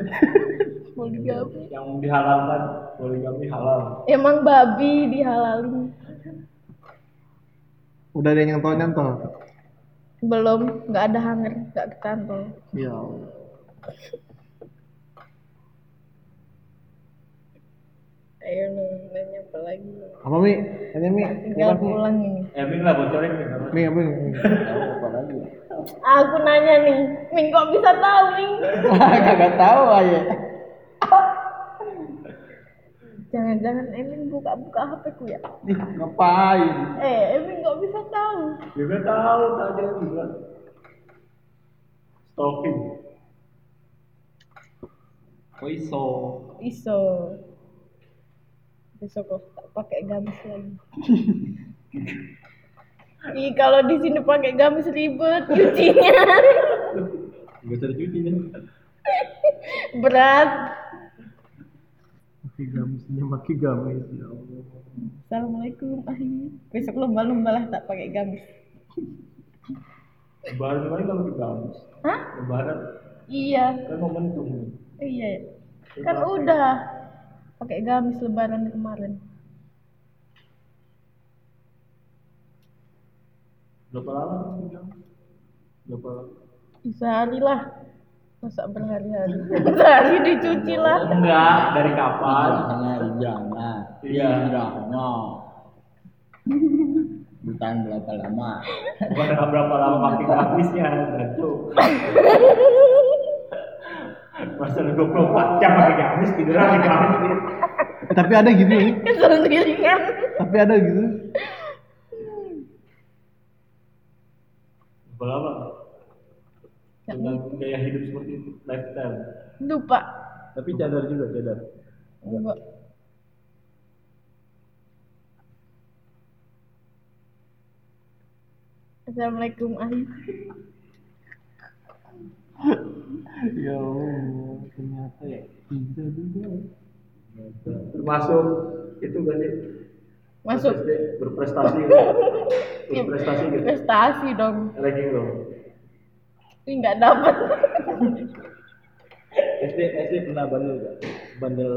Poligami.
Yang dihalalkan poligami halal.
Emang babi dihalalin?
udah ada yang nyantol nyantol
Belum, nggak ada hanger, nggak ke kantor.
ya
Ayo lu, nanya apa lagi?
apa mi tanya mi
Tinggal
apa Mi?
pulang ini.
Emin lah bocorin nih. nggak apa-apa.
mi apa Mi?
Apa lagi?
Aku nanya nih, Ming kok bisa tahu Ming?
Kagak tahu aja.
Jangan-jangan Emin buka-buka HP ku ya?
Ih, ngapain?
Eh, Emin kok bisa tahu?
Juga tahu tadi juga. Stalking.
koiso
Iso. Besok kok tak pakai gamis lagi. Ih, kalau di sini pakai gamis ribet cucinya.
nggak usah cuci kan
Berat.
Maki gamisnya maki gamis ya Allah.
Assalamualaikum Ahi. Besok lomba-lomba lah tak pakai gamis.
Lebaran kemarin kalau di kampus.
Hah?
Lebaran
Iya.
kan momentum nih.
Eh, Iya. ya. Kan udah pakai gamis lebaran kemarin.
Berapa lama kan di kampus? Berapa lama?
Ih, Sehari lah. Masa berhari-hari. Sehari dicuci lah.
Enggak, dari kapan?
Hijrahnya, hijrahnya.
Iya.
Hijrahnya. Bukan berapa lama.
Bukan berapa lama kaki habisnya, Cuk. Masa 24 jam lagi habis tidur lagi habis tidur.
Eh, tapi ada gitu ya.
Keseringan.
tapi ada gitu
Berapa lama? Tentang gaya hidup seperti itu, lifestyle.
Lupa.
Tapi cadar juga cadar.
Lupa. Assalamualaikum Ayu.
Iya,
ya Allah ternyata ya tidak juga
Termasuk itu gak sih?
Masuk
SD, berprestasi berprestasi gitu.
prestasi dong.
Ranking lo.
Ini nggak dapat.
SD SD pernah bandel gak? Bandel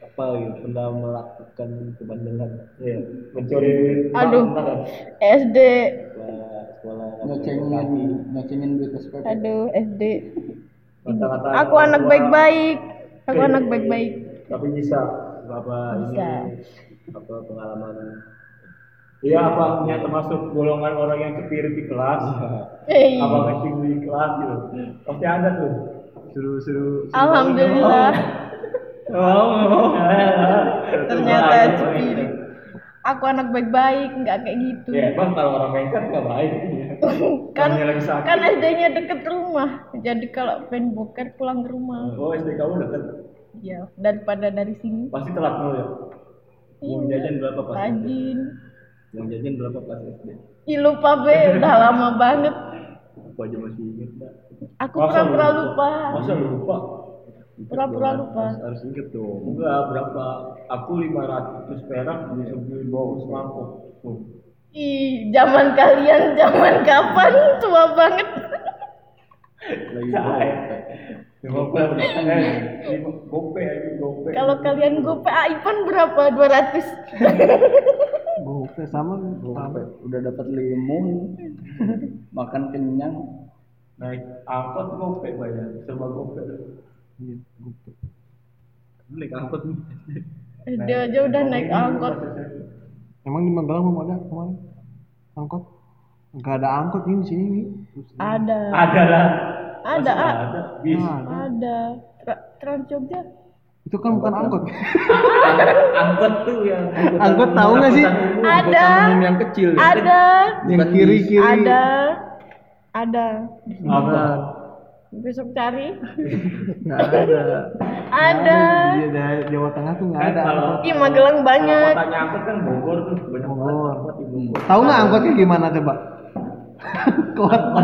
apa gitu? Pernah melakukan kebandelan? Iya.
Mencuri duit.
Aduh.
Pernah nggak?
SD.
Sekolah sekolah.
ngecengin ngecengin duit SPP
Aduh, SD.
Kata-kata
Aku
orang
anak
tua.
baik-baik. Aku
Eh,
anak baik-baik.
Tapi bisa.
Apa
Bisa.
ini? Apa pengalaman?
Iya apa ya, termasuk golongan orang yang kepirit di kelas.
Hei.
Apa ranking di kelas gitu. Pasti ada tuh.
Suruh suruh.
Alhamdulillah.
Oh, oh.
Ternyata
iya.
cepirit. Aku anak baik-baik, nggak kayak gitu.
Ya emang kalau orang lengkap nggak baik.
kan
Namanya lagi sakit.
kan SD-nya deket rumah. Jadi kalau pengen boker pulang ke rumah.
Oh SD kamu deket,
Ya, daripada dari sini.
pasti telat mulu ya.
Uang
Iya.
jajan berapa
Oh,
pas?
iya.
SD?
Rajin.
Uang jajan berapa pas SD?
Ih lupa be, udah lama banget.
Aku aja masih inget dah.
Aku
Masa
pura-pura
lu
lupa.
Masa lu lupa?
Pura-pura lupa.
Harus, harus inget dong.
Enggak berapa? Aku 500 perak bisa beli bau semangkuk. Tuh.
Ih, zaman kalian zaman kapan tua banget.
Lagi
Saya. Lima puluh
Eh,
eh, lima gope aja gope.
Kalau kalian gope Aipan berapa? 200.
Gope sama Gope. udah dapat limon makan kenyang
Naik angkot gope banyak, serba gope.
Iya, Naik angkot nih.
Dia aja udah naik angkot.
Emang di Magelang belum ada kemarin angkot? Gak ada angkot nih di sini nih.
Ada.
Ada lah.
Ada. ah. A-
Masa nggak Ada. Bis.
Nah, ada.
Ada. Tra- Trans Jogja.
Itu kan bukan angkot.
Angkot tuh yang
Angkot tahu nggak sih?
Ada.
Angkutan umum yang kecil ya?
Ada.
Yang
Bukan
kiri kiri.
Ada. Ada.
Apa?
Besok cari.
Nggak ada.
Ada.
Iya dari Jawa Tengah tuh nggak ada.
Eh, Kalau
angkot.
Ih, Magelang banyak. Oh.
kotanya angkot kan Bogor tuh banyak banget
Bogor.
angkot di Bogor.
Tahu nggak angkotnya gimana coba? Kota.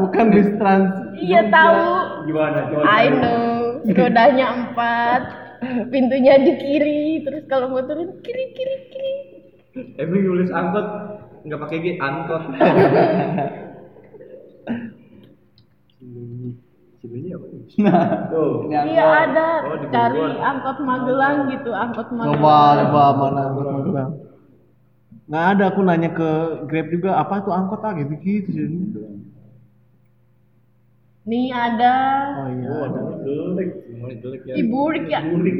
Bukan bis trans.
Iya tahu.
Gimana? Coba
I know. Rodanya empat. Pintunya di kiri. Terus kalau mau turun kiri kiri kiri.
Emang nulis angkot nggak pakai g angkot. Sini apa nih?
ya?
Nah.
tuh.
Ini
Iya
angkot.
ada.
Oh, di
Cari
Bogor.
angkot Magelang gitu. Angkot
Coba
Magelang.
coba mana angkot Magelang. Nggak ada aku nanya ke Grab juga apa tuh angkot ah gitu gitu jadi.
Nih ada.
Oh iya.
Oh,
ada.
ada jelek, semuanya jelek
Iya,
ya.
Ibu Rik ya.
Burik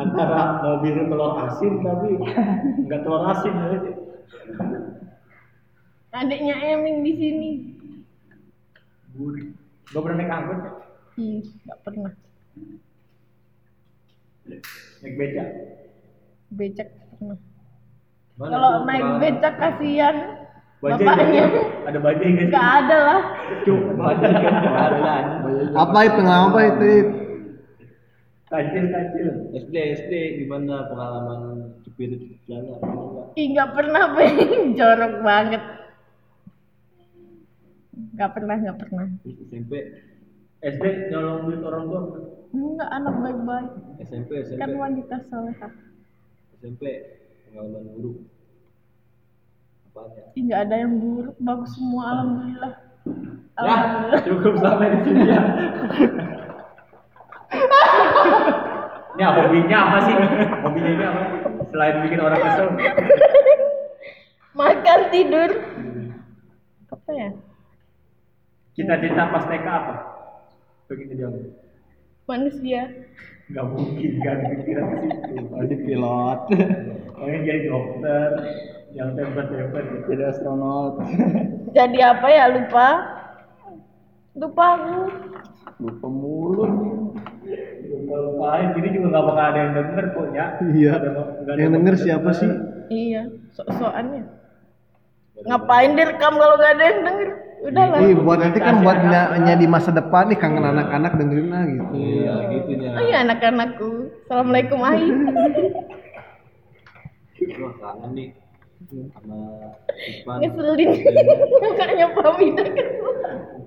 antara mobil telur asin tapi nggak telur asin ya.
Adiknya Eming di sini.
Burik. Gak pernah naik angkot,
Ih, nggak pernah.
naik beca.
Becak pernah.
Mana
Kalau
tuh
naik
kemarin?
becak kasihan
Bajai
bapaknya.
nggak? ada bajai nggak sih?
Nggak ada lah.
Cuk, bajai kan nggak ada.
Apa itu ngapa itu?
Kancil kancil.
SD SD gimana pengalaman jepit jalan? Ada nggak?
Ih, nggak pernah pengen jorok banget. Nggak pernah, nggak pernah.
Terus SMP
SD nyolong duit orang tua.
Enggak anak baik-baik.
SMP SMP
Kan wanita solehah.
SMP pengalaman buruk. Apa ya?
Ih, nggak ada yang buruk, bagus semua alhamdulillah. Oh.
Ya,
Alhamdulillah.
cukup sampai di sini ya. Ini apa hobinya apa sih? Hobinya ini apa? Selain bikin orang kesel.
Makan tidur. Apa ya?
Cita-cita pas TK apa? Pengen jadi apa?
Manusia.
Gak mungkin kan pikiran ke situ.
jadi pilot
Pengen jadi dokter yang tempat-tempat gitu.
jadi astronot
Jadi apa ya lupa? Lupa aku.
lupa mulu nih.
Lupa-lupain, jadi juga nggak bakal ada yang denger kok ya.
Iya.
Nggak ada- nggak ada
Yang denger siapa sih?
Iya, sok-sokannya.
Iya.
Ngapain direkam kalau nggak ada yang denger? Udahlah.
Ih, buat nanti kan buat nya, nya di masa depan nih kangen anak-anak dengerin lah gitu.
Iya, gitu nya.
Oh iya anak-anakku. Assalamualaikum Ahi.
Wah, kangen nih sama Iya. Ipan.
Ngeselin. Mukanya Pamida kesel.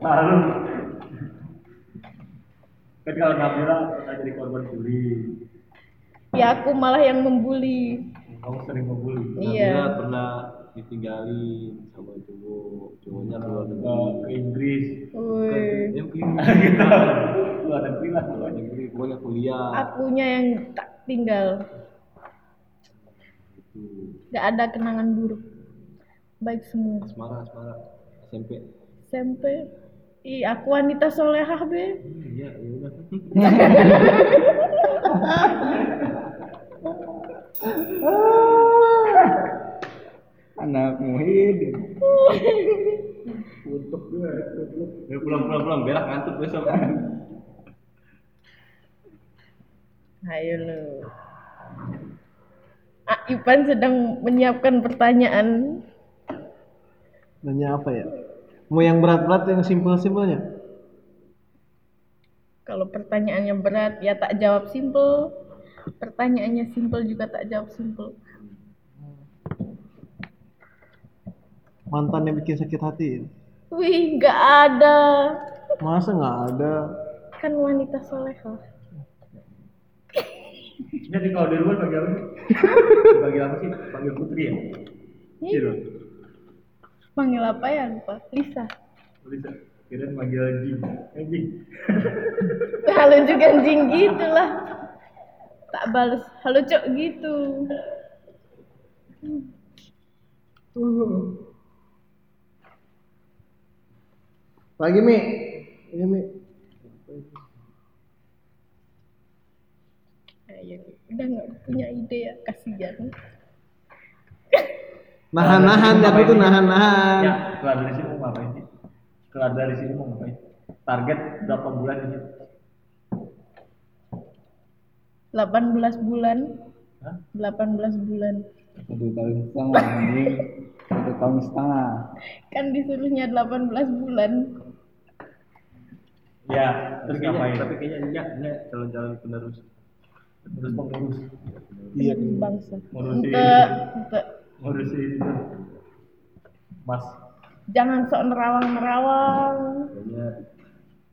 Lalu kan kalau Nabila pernah jadi korban bully,
Ya aku malah yang membuli.
kamu sering membuli.
Iya.
Nabila pernah ditinggalin sama cowok, cowoknya keluar
Ke, ke
negeri.
Inggris,
Woi.
Yang ke
luar negeri lah
Keluar negeri, pokoknya kuliah.
Akunya yang tak tinggal.
Gitu.
Gak ada kenangan buruk. Baik semua.
Asmara, asmara. SMP.
SMP. Ih, aku wanita solehah, Be.
Hmm, Iya, ya udah.
Anakmu hidup.
untuk gue. untuk.
Ya, pulang, pulang, pulang. Berak ngantuk besok.
Ayo lu. Ah, Ipan sedang menyiapkan pertanyaan.
Nanya apa ya? Mau yang berat-berat yang simpel-simpelnya?
Kalau pertanyaannya berat, ya tak jawab simple. Pertanyaannya simple juga tak jawab simple.
Mantan yang bikin sakit hati. ya?
Wih, nggak ada.
Masa nggak ada?
Kan wanita solehah.
Jadi kalau di rumah panggil apa sih? Panggil apa sih? Panggil Putri ya? Iya
Ih,
dong.
Panggil apa ya lupa? Lisa.
Bisa. Kira panggil Jim. Eh Jim.
Halo juga anjing gitu lah. Tak bales. Halo cok gitu.
Lagi Mi. Ini Mi.
Ayo, udah nggak punya ide ya kasihan.
Nahan-nahan, aku tuh nahan-nahan.
Ya, keluar dari sini mau ngapain sih? Keluar dari sini mau ngapain? Target berapa bulan ini?
18 bulan.
Hah?
18 bulan.
Satu tahun setengah anjing. Satu tahun setengah.
Kan disuruhnya 18 bulan.
Ya, terus ngapain?
Tapi kayaknya ya, nya, nya calon-calon penerus.
Terus pengurus.
Iya.
Penerus bangsa.
Ngurusin.
Untuk, untuk
Ngurusin itu. Mas.
jangan sok nerawang-nerawang.
Kayaknya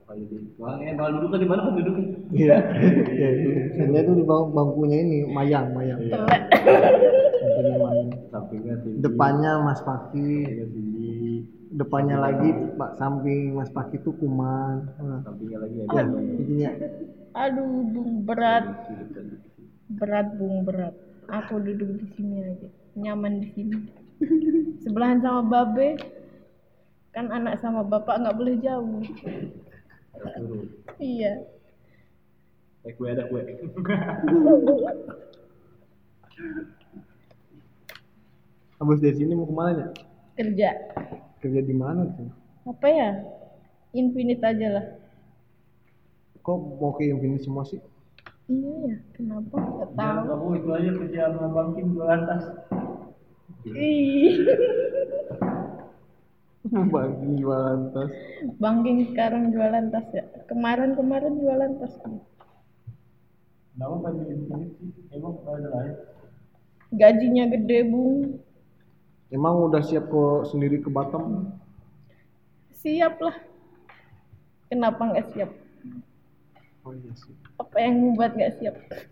bakal jadi Wah, eh, kalau duduk di mana kan duduknya?
Iya. Iya. Saya tuh di bang- bangkunya ini mayang, mayang.
Iya.
Telek.
Bangkunya mayang.
Sampingnya tinggi.
Depannya Mas Paki,
Sampingnya tinggi.
depannya lagi Pak samping Mas Paki tuh kuman. Nah,
Sampingnya lagi ada.
ya, intinya
Aduh, bung berat, berat bung berat. Aku duduk di sini aja, nyaman di sini. Sebelahan sama babe, kan anak sama bapak nggak boleh jauh.
Turun.
Iya.
Eh, kue ada kue.
habis dari sini mau kemana ya?
Kerja.
Kerja di mana tuh?
Apa ya? Infinite aja lah.
Kok mau ke Infinity semua sih?
Iya ya, kenapa? Gak
Ya,
tahu.
kamu itu aja kerja sama Bang Kim jual tas.
Ih,
Bagi jualan tas.
Bang King sekarang jualan tas ya. Kemarin-kemarin jualan tas.
Kenapa panggil Infinity? Emang nggak ada lain?
Gajinya gede, Bung.
Emang udah siap kok sendiri ke Batam?
Siap lah. Kenapa nggak siap?
Oh iya sih.
Apa yang membuat nggak siap?
Kan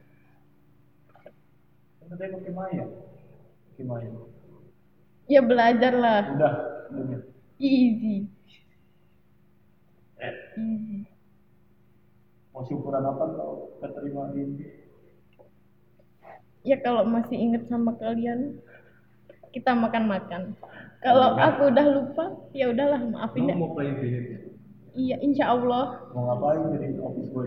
katanya pakai Maya. Pakai Maya.
Ya belajar lah.
Udah, udah.
Easy.
Eh.
Easy.
Mau syukuran apa kalau keterima di
Ya kalau masih inget sama kalian, kita makan-makan. Kalau aku udah lupa, ya udahlah maafin deh.
Kamu mau play
ya?
Infinity?
Iya, insya Allah
mau ngapain jadi office boy?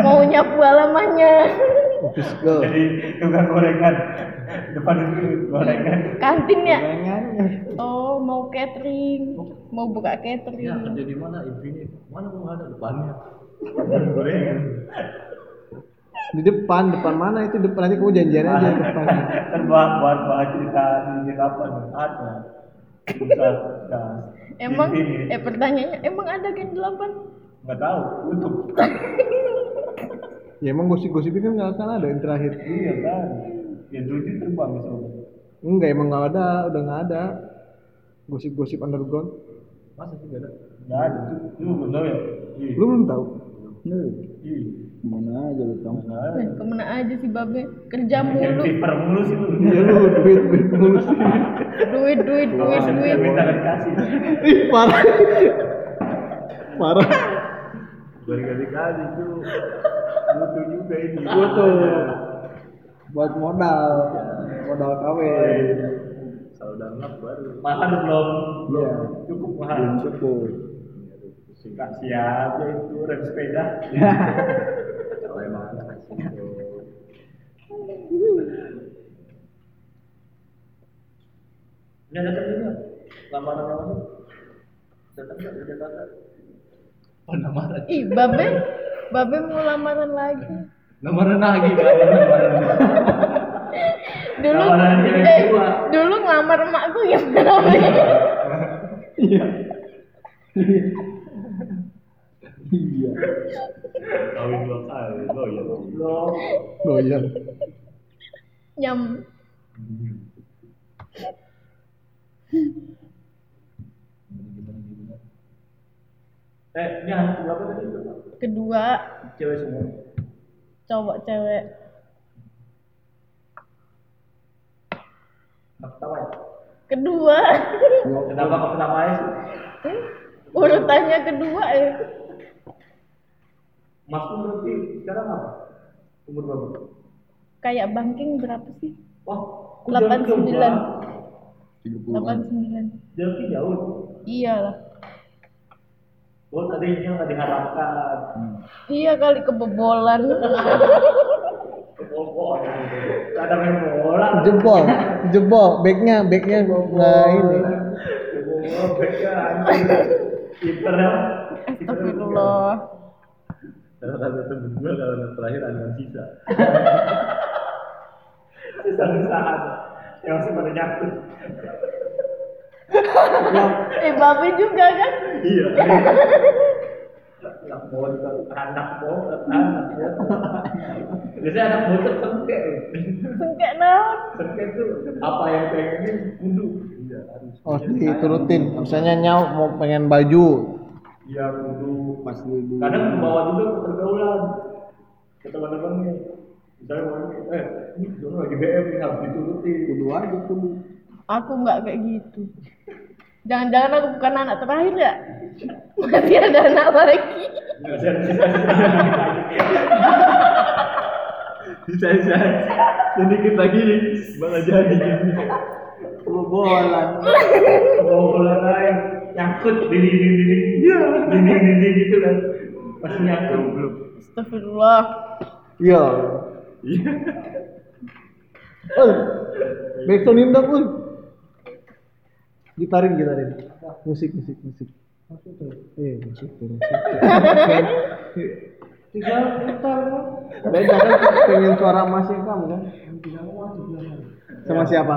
mau nyapu halamannya.
Office girl.
Jadi tukang gorengan. depan itu gorengan
kantin ya
Jangan.
oh mau catering mau buka catering
ya kerja di mana ibunya mana kamu ada depannya gorengan
Di depan, depan mana itu depan nanti kamu janjian aja di depan.
kan bahan bahan bahan cerita di apa ada bisa bisa
emang
Ini.
eh pertanyaannya emang ada gen 8
nggak tahu tutup
Ya emang gosip-gosip kan nggak akan ada yang terakhir.
iya kan ya dulu dia terbang misalnya
Enggak emang nggak ada, udah nggak ada. Gosip-gosip underground.
masa sih nggak ada nggak ada tuh lu belum tahu ya iya
Lu belum tahu?
Lu
iya
Mana aja lu kamu.
nggak ada
Eh, kemana aja sih babe kerja
yang
mulu
paper mulu sih lu
Iya lu duit duit mulus.
duit duit duit duit
yang minta kan nggak dikasih
Ih parah. Parah.
gue dikasih kasih tuh butuh juga ini
Butuh. Buat modal. Modal Iya. kawin.
kalau udah ngap baru mahar belum
Iya.
cukup mahar
Belum cukup.
kasih aja itu rem sepeda kalau emang ada kasih
Ya.
Nggak datang juga lamaran lamaran datang nggak udah datang oh lamaran
ih babe babe mau lamaran lagi
lamaran lagi lamaran
dulu
Lamaran cewek
eh,
tua.
dulu ngelamar emakku gimana Be?
Iya.
kawin dua kali lo ya lo
Doyan.
nyam
eh ini anak berapa tadi
kedua
cewek semua
cowok cewek
Nggak ketawa ya
kedua Hmm?
kenapa kau ketawa ya sih
urutannya kedua eh
Mas pun berarti sekarang apa? Umur berapa?
kayak banking berapa sih
Wah, kok
Delapan
jauh juga?
sembilan.
30-an.
89
Jaraknya jauh.
iyalah
Oh, tadi yang nggak diharapkan.
iya kali kebobolan
Kebol-bol. Nggak ada main bola.
Jebol, jebol, backnya, backnya nggak ini.
Kebol-bol, mereka anjing. Kiper ya.
astagfirullah
Kalau kata temen gue, kalau yang terakhir ada yang sisa. Sisa-sisaan. Yang masih pada nyakut.
eh babe juga kan
Iya. Anak bocor, anak bocor, anak bocor. Biasanya anak bocor sengkek.
sengkek naon
Sengkek tuh apa yang pengen kudu. Iya harus.
Oh, diturutin. Misalnya nyau mau pengen baju,
Iya kudu.
Pas lu di
Kadang membawa juga ke pergaulan. Ke teman-temannya. Misalnya mau, eh ini Jono lagi BM ini harus dituruti.
kudu aja kudu.
aku nggak kayak gitu jangan-jangan aku bukan anak terakhir ya masih ada anak lagi
Masih ada sisa-sisa. Sisa-sisa. Sedikit lagi malah jadi gini.
Kebobolan.
bola lain nyangkut dinding dinding iya dinding dinding gitu kan masih nyangkut belum
astagfirullah
iya.
iya
Ul, backsound indah ul. Gitarin, gitarin. Musik, musik, musik. Iya, musik, musik.
tiga putar kan
Beda kan pengen suara masih kamu kan? Sama siapa?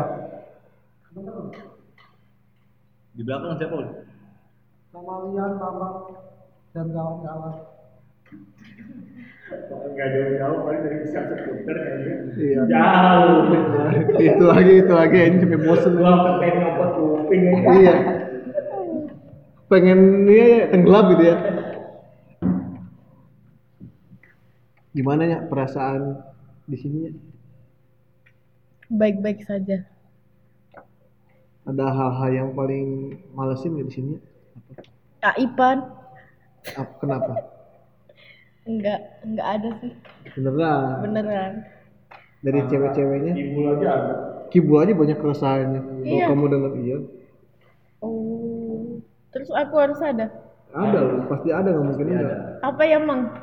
di belakang siapa lu
Sama Lian, sama dan kawan-kawan.
nggak jauh jauh paling dari bisa seputar kan ya
Iya.
jauh
itu lagi, itu lagi, ini sampai bosen.
gua pengen nyopot kuping aja
iya pengen dia ya, tenggelam gitu ya gimana ya perasaan di sini ya?
baik-baik saja
ada hal-hal yang paling malesin ya di sini ya?
kak Ipan
Ap- kenapa
enggak enggak ada sih
beneran
beneran
dari cewek-ceweknya
ibu aja ada
kibul aja banyak keresahannya kalau
Iya.
kamu dengar iya
oh terus aku harus ada
ada loh pasti ada nggak mungkin ada
apa ya mang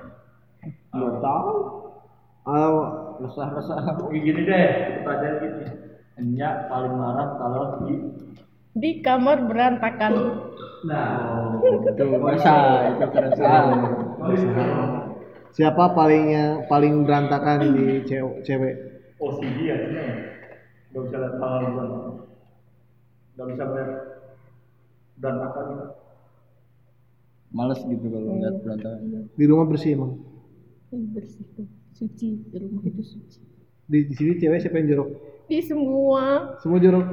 Gak tahu.
Ah,
Resah-resah.
gini deh pertanyaan gini
Nya paling marah kalau di
Di kamar berantakan.
Nah,
itu bisa itu keresahan
Siapa palingnya paling berantakan di cewek? cewek?
OCD ya, nggak bisa lihat hal hal nggak bisa melihat gitu. berantakan.
males gitu kalau lihat berantakan
Di rumah bersih emang.
Ih, bersih tuh. Suci. Di rumah itu suci.
Di, di sini cewek siapa yang jorok?
Di semua.
Semua jorok.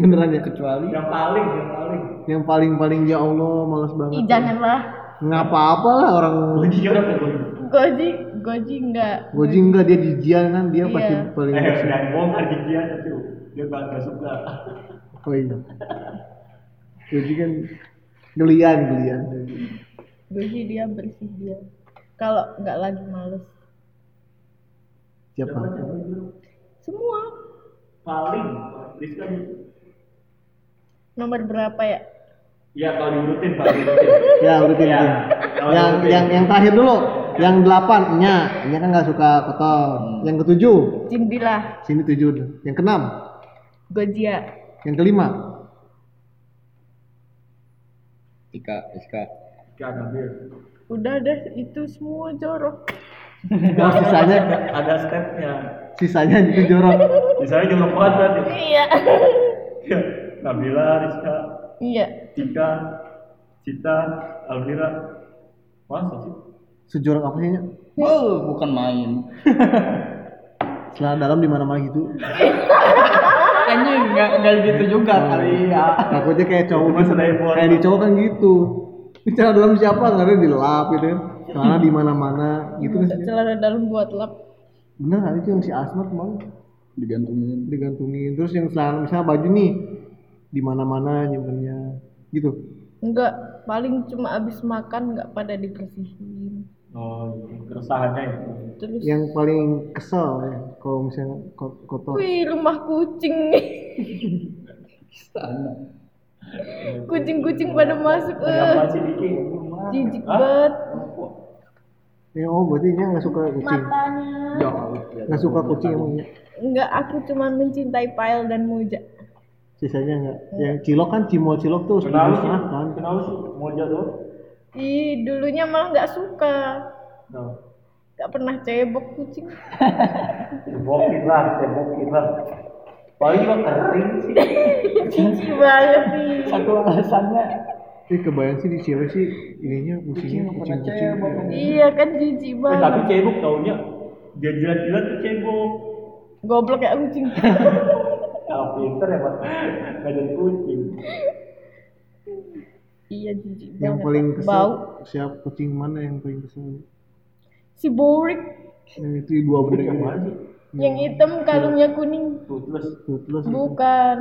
Beneran ya kecuali
Yang paling, yang paling.
yang paling-paling ya Allah malas
Ih,
banget.
janganlah.
Nggak apa-apa lah orang
Lagi jorok ya gue.
Goji, goji enggak.
Goji enggak dia jijian kan dia
Iya.
pasti paling
Eh,
bersih.
dan gue nggak digiat itu. Dia nggak nggak suka.
Oh iya. Goji kan gelian gelian.
Goji dia bersih dia. Kalau enggak lagi males.
Siapa?
Semua.
Paling, Rizka gitu.
Nomor berapa ya?
Iya, kalau diurutin paling diurutin.
Ya urutin
Ya.
ya. Yang yang yang terakhir dulu. Yang delapan nya, nya kan nggak suka kotor. Yang ketujuh,
Cindilah.
sini tujuh. Yang keenam,
Gojia.
yang kelima,
Ika Iska
Gak ngambil.
Udah deh itu semua jorok.
Oh, sisanya
Ada stepnya.
sisanya itu jorok.
Misalnya jorok banget berarti.
Iya.
Ya, Nabila, Rizka,
iya.
Tika, Cita, Almira. Masa sih?
Sejorok apa sih? Nya?
oh bukan main
Celana dalam di mana-mana gitu.
anjing nggak nggak gitu juga kali ya
Takutnya kayak cowok
Cuma
gitu.
serai buat.
Kayak di cowok kan gitu. Ini celana dalam siapa? Nggak ada dilap gitu kan. Celana di mana-mana gitu kan.
Celana dalam buat lap.
Bener kan itu yang si Asmat mau
digantungin
digantungin. Terus yang celana misalnya baju nih di mana-mana nyimpennya gitu.
Enggak, paling cuma abis makan enggak pada dibersihin.
Oh, iya. keresahannya itu.
Terus,
yang paling kesel ya kalau misalnya ko- kotor
wih rumah kucing nih.
sana
Kucing-kucing pada masuk,
Kenapa
eh.
sih Diki?
Jijik banget.
ya oh berarti dia nggak suka kucing
Matanya.
ya Allah, ya.
nggak suka kucing emangnya
Enggak, aku cuma mencintai Pail dan Moja.
sisanya nggak yang cilok kan cimol cilok tuh sudah
Kenapa sih?
setengah kan
Kenapa sih? Mau jatuh?
Ih, dulunya malah nggak suka.
No.
Nggak pernah cebok kucing.
Cebokin lah, cebokin lah. Paling juga kering sih.
Cici banget sih.
satu alasannya
eh kebayang sih di cewek sih ininya kucingnya ya. kucing kucing
Iya kan jijik
Eh,
banget.
tapi cebok taunya. Dia jilat-jilat tuh cebok.
Goblok ya kucing.
Kalau pinter ya pak. Nggak jadi kucing.
iya jijik banget.
yang paling kesel
Bau.
siapa kucing mana yang paling kesel
Si Borik
yang itu dua beri
Yang mana sih?
Hmm.
yang hitam kalungnya kuning.
Toothless.
Toothless
Bukan.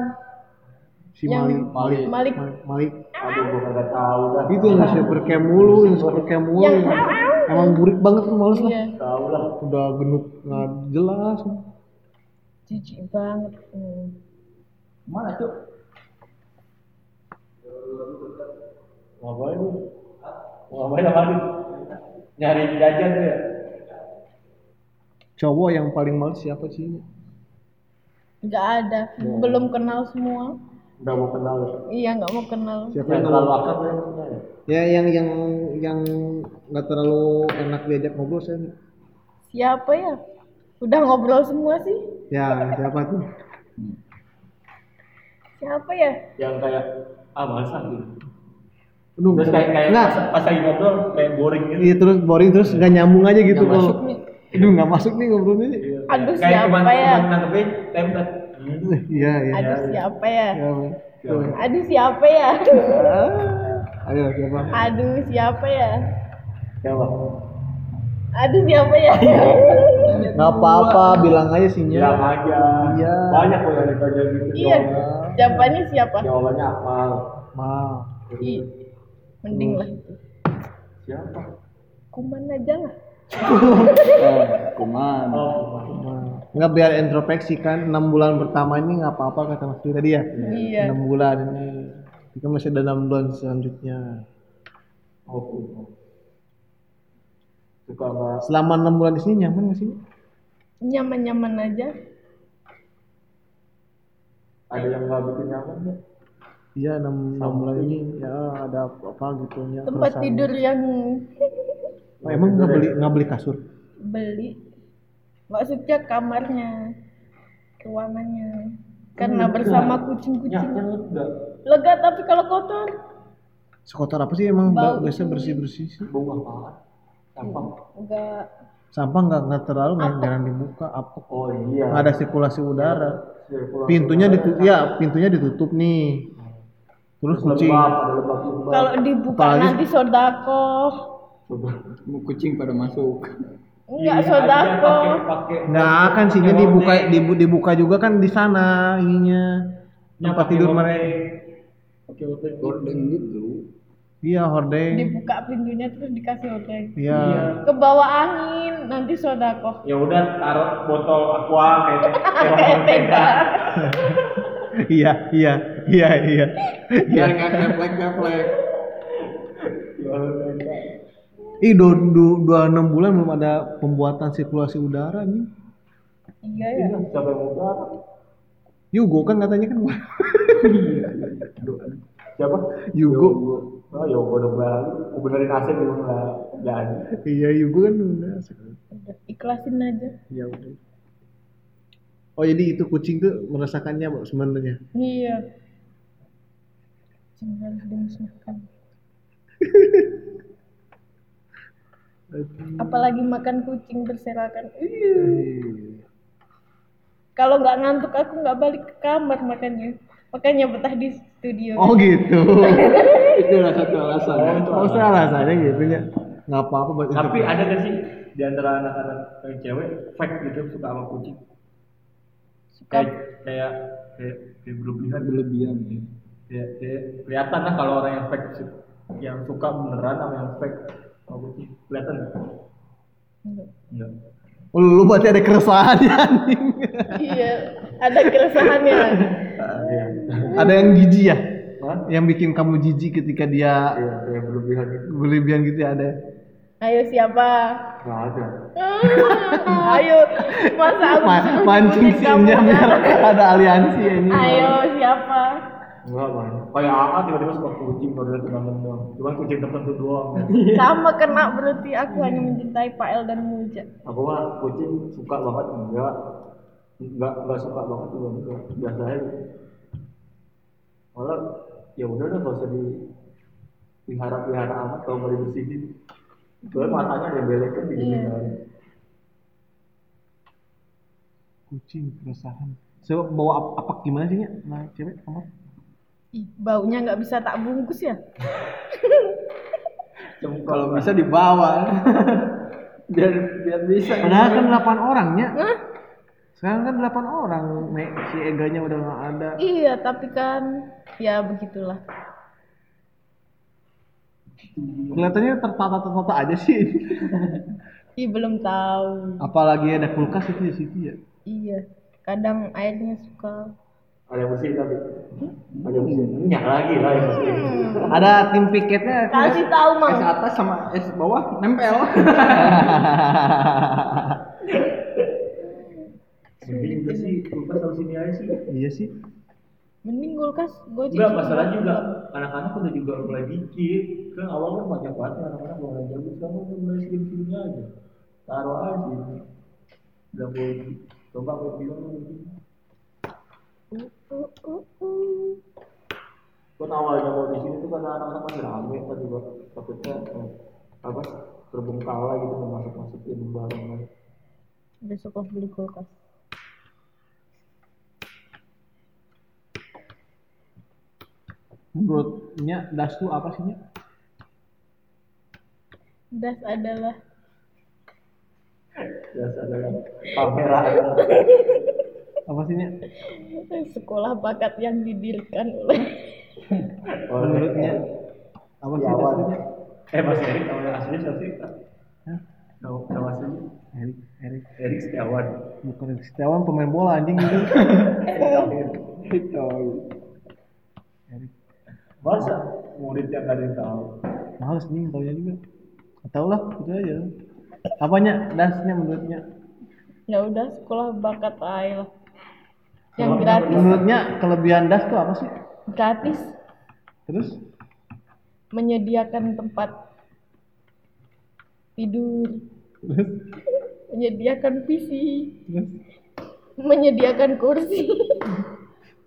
si
yang
Malik Malik
Malik.
Malik- Malik
Aduh, gue kagak tahu dah.
itu yang super cam mulu yang super cam mulu
Yang-
emang burik banget tuh males lah
Iya,
Tahu lah.
udah genut nggak jelas
jijik banget. Hmm.
mana tuh
Ngapain lu? Ngapain apa lu? Nyari jajan tuh ya?
cowok yang paling males siapa sih
Nggak ada, belum kenal semua.
Udah mau kenal ya?
Iya, nggak mau kenal.
siapa
Yang
yang
terlalu akrab ya?
ya yang yang yang nggak terlalu enak diajak ngobrol saya
Siapa ya? Udah ngobrol semua sih.
ya siapa tuh
Siapa ya?
Yang kayak, ah masa gitu.
Aduh,
Terus kayak, kayak
nah
pas, pas lagi ngobrol kayak boring gitu.
iya terus boring terus nggak nyambung aja gitu
Nggak
kok
masuk
nih.
aduh nggak masuk nih ngobrolnya
Aduh,
Iya.
siapa
kayak cuman,
ya?
Cuman nangkepin template. Hmm.
iya iya
Aduh siapa ya?
Ya, tuh.
Aduh siapa ya?
ayo siapa
Aduh siapa ya?
Siapa?
Aduh siapa ya?
nggak apa-apa bilang aja sih
Ya
Nya.
aja.
Iya.
Banyak kok yang ditanya gitu.
Iya, jawabannya siapa?
Jawabannya- Jawabannya apa?
Ma,
Ih, mending lah itu.
Siapa?
Kuman aja lah.
eh, kuman
Oh,
ma. nggak biar introspeksi kan enam bulan pertama ini nggak apa-apa kata Mas Dwi tadi ya
Iya.
enam bulan ini kita masih ada enam bulan selanjutnya
oh, oh. Suka nggak
selama enam bulan di sini nyaman nggak sih
Nyaman-nyaman aja.
ada yang nggak bikin nyaman nggak?
Iya enam enam bulan ini ya ada apa gitu ya.
Tempat
keresahan.
tidur Iya. yang
Oh, emang nggak beli nggak beli kasur?
beli. Maksudnya kamarnya, ruangannya. Karena bersama kucing-kucing.
Nyaman nggak?
Lega tapi kalau kotor
Sekotor apa sih emang
Bau
ba- biasanya bersih bersih sih?
Bau apaan? Sampah.
enggak
Sampah nggak nggak terlalu nggak jarang dibuka apa?
Oh iya.
Nggak ada sirkulasi udara.
Sirkulasi
Pintunya
udara.
ditutup ya pintunya ditutup nih. Terus kucing.
Lembab, ada lembab-lembab.
kalau dibuka
Apalagi-
nanti sodako
Coba.
Mau kucing pada masuk.
enggak
Ini
sodako
aja pakai- pakai-
Nggak kan sih
pakai
dibuka
loteng.
dibu- dibuka juga kan di sana ininya tempat
Pakai
tidur
loteng.
mereka.
Pakai loteng.
Gorden gitu.
Iya hordeng.
dibuka pintunya terus dikasih odeng
Iya.
ke bawah angin nanti sodako
Ya udah taruh botol aqua kayak gitu. kayak
kayak
botol
TK
tenda.
Iya iya iya iya.
Biar nggak keplek-keplek.
Ya gitu.
Ih, dua, dua, dua enam bulan belum ada pembuatan sirkulasi udara nih.
iya ya
Siapa yang mau berapa?
Yugo kan katanya kan.
Siapa?
Yugo.
Oh ya gua udah balik. Gua benerin AC dulu nggak jadi.
Iya, Yugo kan udah.
Udah, ikhlasin aja
Ya udah. Oh, jadi itu kucing tuh merasakannya Pak, sebenarnya.
iya Kucing harus dimusnahkan apalagi makan kucing berserakan Iya. kalau nggak ngantuk aku nggak balik ke kamar makanya makanya betah di studio
Oh, gitu.
Itu salah satu alasan.
Oh, salah saya gitu ya. Nggak apa-apa buat
Tapi ada gak sih di antara anak-anak yang cewek fake gitu suka sama kucing?
suka
Kayak kayak kayak, kayak berlebihan
Berlebihan. ya.
kayak, kayak kelihatan lah kalau orang yang fake sih. yang suka beneran sama yang fake sama kucing kelihatan nggak?
eh.
Enggak.
Oh, lu berarti ada keresahan ya anjing.
iya ada keresahannya
Iya.
Ada yang jijik ya?
Hah?
Yang bikin kamu jijik ketika dia
Iya, kayak berlebihan gitu.
berlebihan gitu ya ada.
ayo siapa
Enggak ada.
Ah, ayo masa aku
Ma-
disuruh
mancing ya.
nyebut kamu
scene-nya biar
kan?
ada aliansi ya, ini.
ayo siapa
Enggak, Bang. Kayak AA tiba-tiba suka kucing baru lihat teman doang. Cuman kucing tertentu doang.
sama kena berarti aku hanya mencintai Pak El dan Muja
Aku mah kucing suka banget enggak. Enggak enggak suka banget juga enggak. Biasa aja. Malah ya udah udah enggak usah di pelihara-pelihara amat kalau nggak dibersihin. Soalnya matanya ada yang belek kan gitu.
Iya.
kucing keresahan so, bawa ap- apa gimana sih ya nah cewek apa
Ih, baunya nggak bisa tak bungkus ya
Kalau bisa dibawa. biar biar bisa.
padahal kan delapan orang ya sekarang kan delapan orang Nek. si eganya udah nggak ada
iya tapi kan ya begitulah
kelihatannya tertata tertata aja sih
Ih belum tahu
apalagi ada kulkas itu di situ ya
iya kadang airnya suka
Ada yang bersihin tapi. Ada yang bersihin. Minyak lagi lah yang bersihin.
ada tim piketnya
Hmm, kasih tahu
Es
mang
atas sama es bawah nempel.
Mending udah sih, kulkas harus ini aja sih.
iya sih
mending kulkas gojek
Enggak,
sih.
masalah juga anak-anak udah juga mulai dikit. Kan awal kan banyak banget nih anak-anak mulai jago, sekarang udah mulai sedikit-sedikitnya aja. Taruh aja sih. Udah mau coba gue bilang mungkin.
Uh, uh, uh.
Kan awalnya mau di sini tuh karena anak-anak masih rame kan juga takutnya eh, apa terbengkalai gitu mau masuk-masukin barang
besok aku beli kulkas
menurutnya das tuh apa sih Nya?
das adalah
biasa dengan kamera
apa sih Nya?
sekolah bakat yang didirikan oleh
menurutnya apa sih das tuh, Nya?
eh mas Erik namanya aslinya siapa sih
Hah?
nama nama aslinya
Erik Erik
Erik Setiawan
bukan Erik Setiawan pemain bola anjing gitu
Itu.
Erik
masa murid yang gak ada yang tahu
Males nih taunya juga. Gak tau lah, gitu aja. Apanya dasnya menurutnya?
ya udah sekolah bakat aja lah yang gratis
Menurutnya kelebihan das tuh apa sih?
gratis
Terus?
menyediakan tempat tidur menyediakan PC
Terus?
menyediakan kursi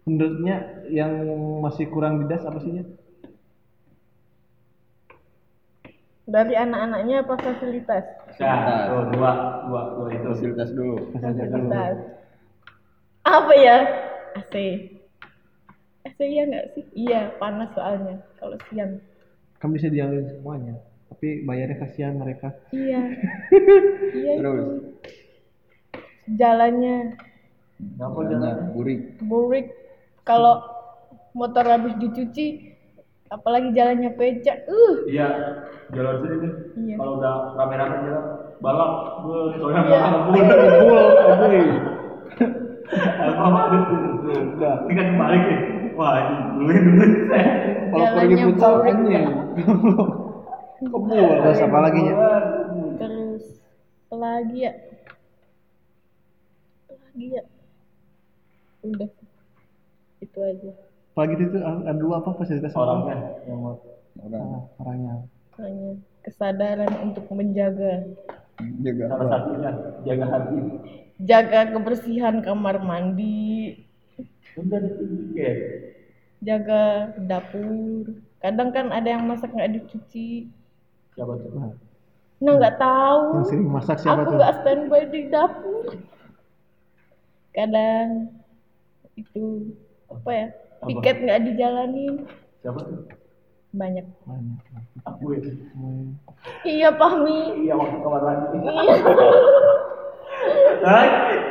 Menurutnya yang masih kurang di das apa sih? Nya?
dari anak-anaknya apa fasilitas
Sebentar.
Nah, tuh, dua, dua, dua itu.
Fasilitas dulu.
fasilitas apa ya AC AC iya nggak sih iya panas soalnya kalau siang
kan bisa diambil semuanya tapi bayarnya kasihan mereka
iya iya
Terus?
itu jalannya
Kenapa jangan?
Jalannya burik.
burik kalau motor habis dicuci apalagi jalannya pecah uh
Iya, jalan sini deh.
Iya.
Kalau udah rame-rame jalan, balap, gue soalnya
Iya.
nggak ampun. Apa apa tuh? Ini kan kembali nih. Wah, ini duluin duluin saya.
Kalau pergi
Jalannya
futsal kan ya.
burik.
anjing. Kebul. Terus apa lagi? Nya?
terus apalagi ya apalagi ya udah itu aja
apalagi itu tuh, ada dua apa fasilitas apa
Orangnya yang mau
Orang
Ah, orangnya
Soalnya kesadaran untuk menjaga
jaga.
salah satunya jaga hati.
jaga kebersihan kamar mandi
Udah ditinggi ya.
jaga dapur kadang kan ada yang masak nggak dicuci
Siapa tuh?
nah nggak tahu
Hmm. yang sering masak siapa
aku
tuh
nggak standby di dapur kadang itu apa ya piket nggak dijalanin
Siapa tuh?
banyak
banyak
Aku ya.
iya pahmi
Iya, waktu kawan lagi.
iya
Nah,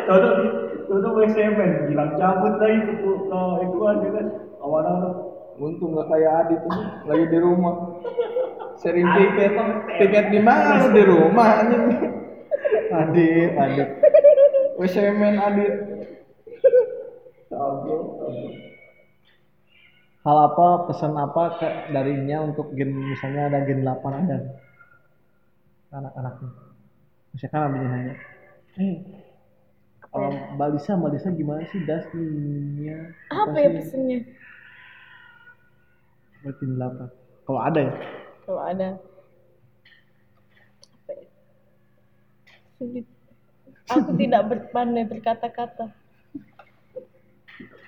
contoh di contoh WC men, hilang cabut lah itu ke itu kan dia kan awal-awal.
Untung nggak kayak Adi tuh lagi di rumah. Sering piket, piket di mana lu di rumah anjing. Adit, Adit. Wes men Adit.
hal apa pesan apa ke, darinya untuk gen misalnya ada gen 8 ada anak-anaknya misalkan abisnya nanya eh kalau Mbak Lisa, Mbak Lisa gimana sih dasnya
apa ya pesennya
buat gen 8 kalau ada ya
kalau ada apa ya? sulit aku tidak berpandai berkata-kata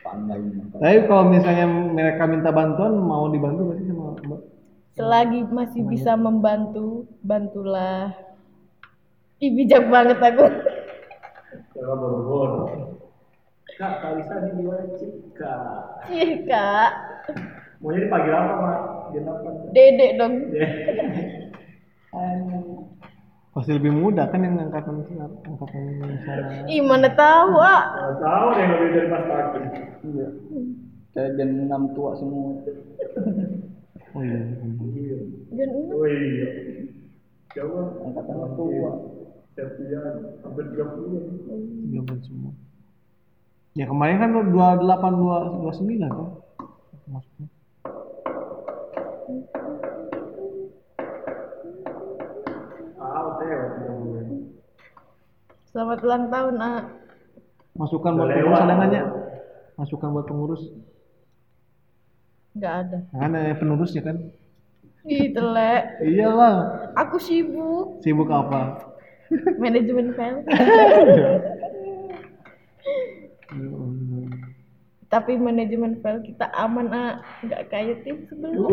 Pandai
tapi kalau misalnya mereka minta bantuan mau dibantu pasti sama Mbak
selagi masih bisa membantu bantulah Ih, bijak banget aku
Jangan boro-boro. Kak, Kalisa di mana Cika?
Ih, Iya, kak
Maunya dipanggil apa, Mak? Dia apa?
dedek dong
pasti lebih muda kan yang angkatan angkatan misalnya
Ih, mana tahu ah
Nggak tahu deh kalau dia dari pas pagi.
Iya. Kayak gen enam tua semua.
oh iya
Iya.
Gen enam.
Oh iya. Siapa?
Angkatan tua.
Septian, hampir 30.
belum kan semua ya kemarin kan dua delapan dua dua sembilan kan maksudnya
Ah, oke,
selamat ulang tahun ah
masukan
Udah
buat pengurus
lewat.
ada nggak Nya? masukan buat pengurus
nggak ada
kan ada penerus ya kan
Ih, telek
iyalah
aku sibuk
sibuk apa
manajemen file tapi manajemen file kita aman ah nggak kayak
Uh.
tim sebelum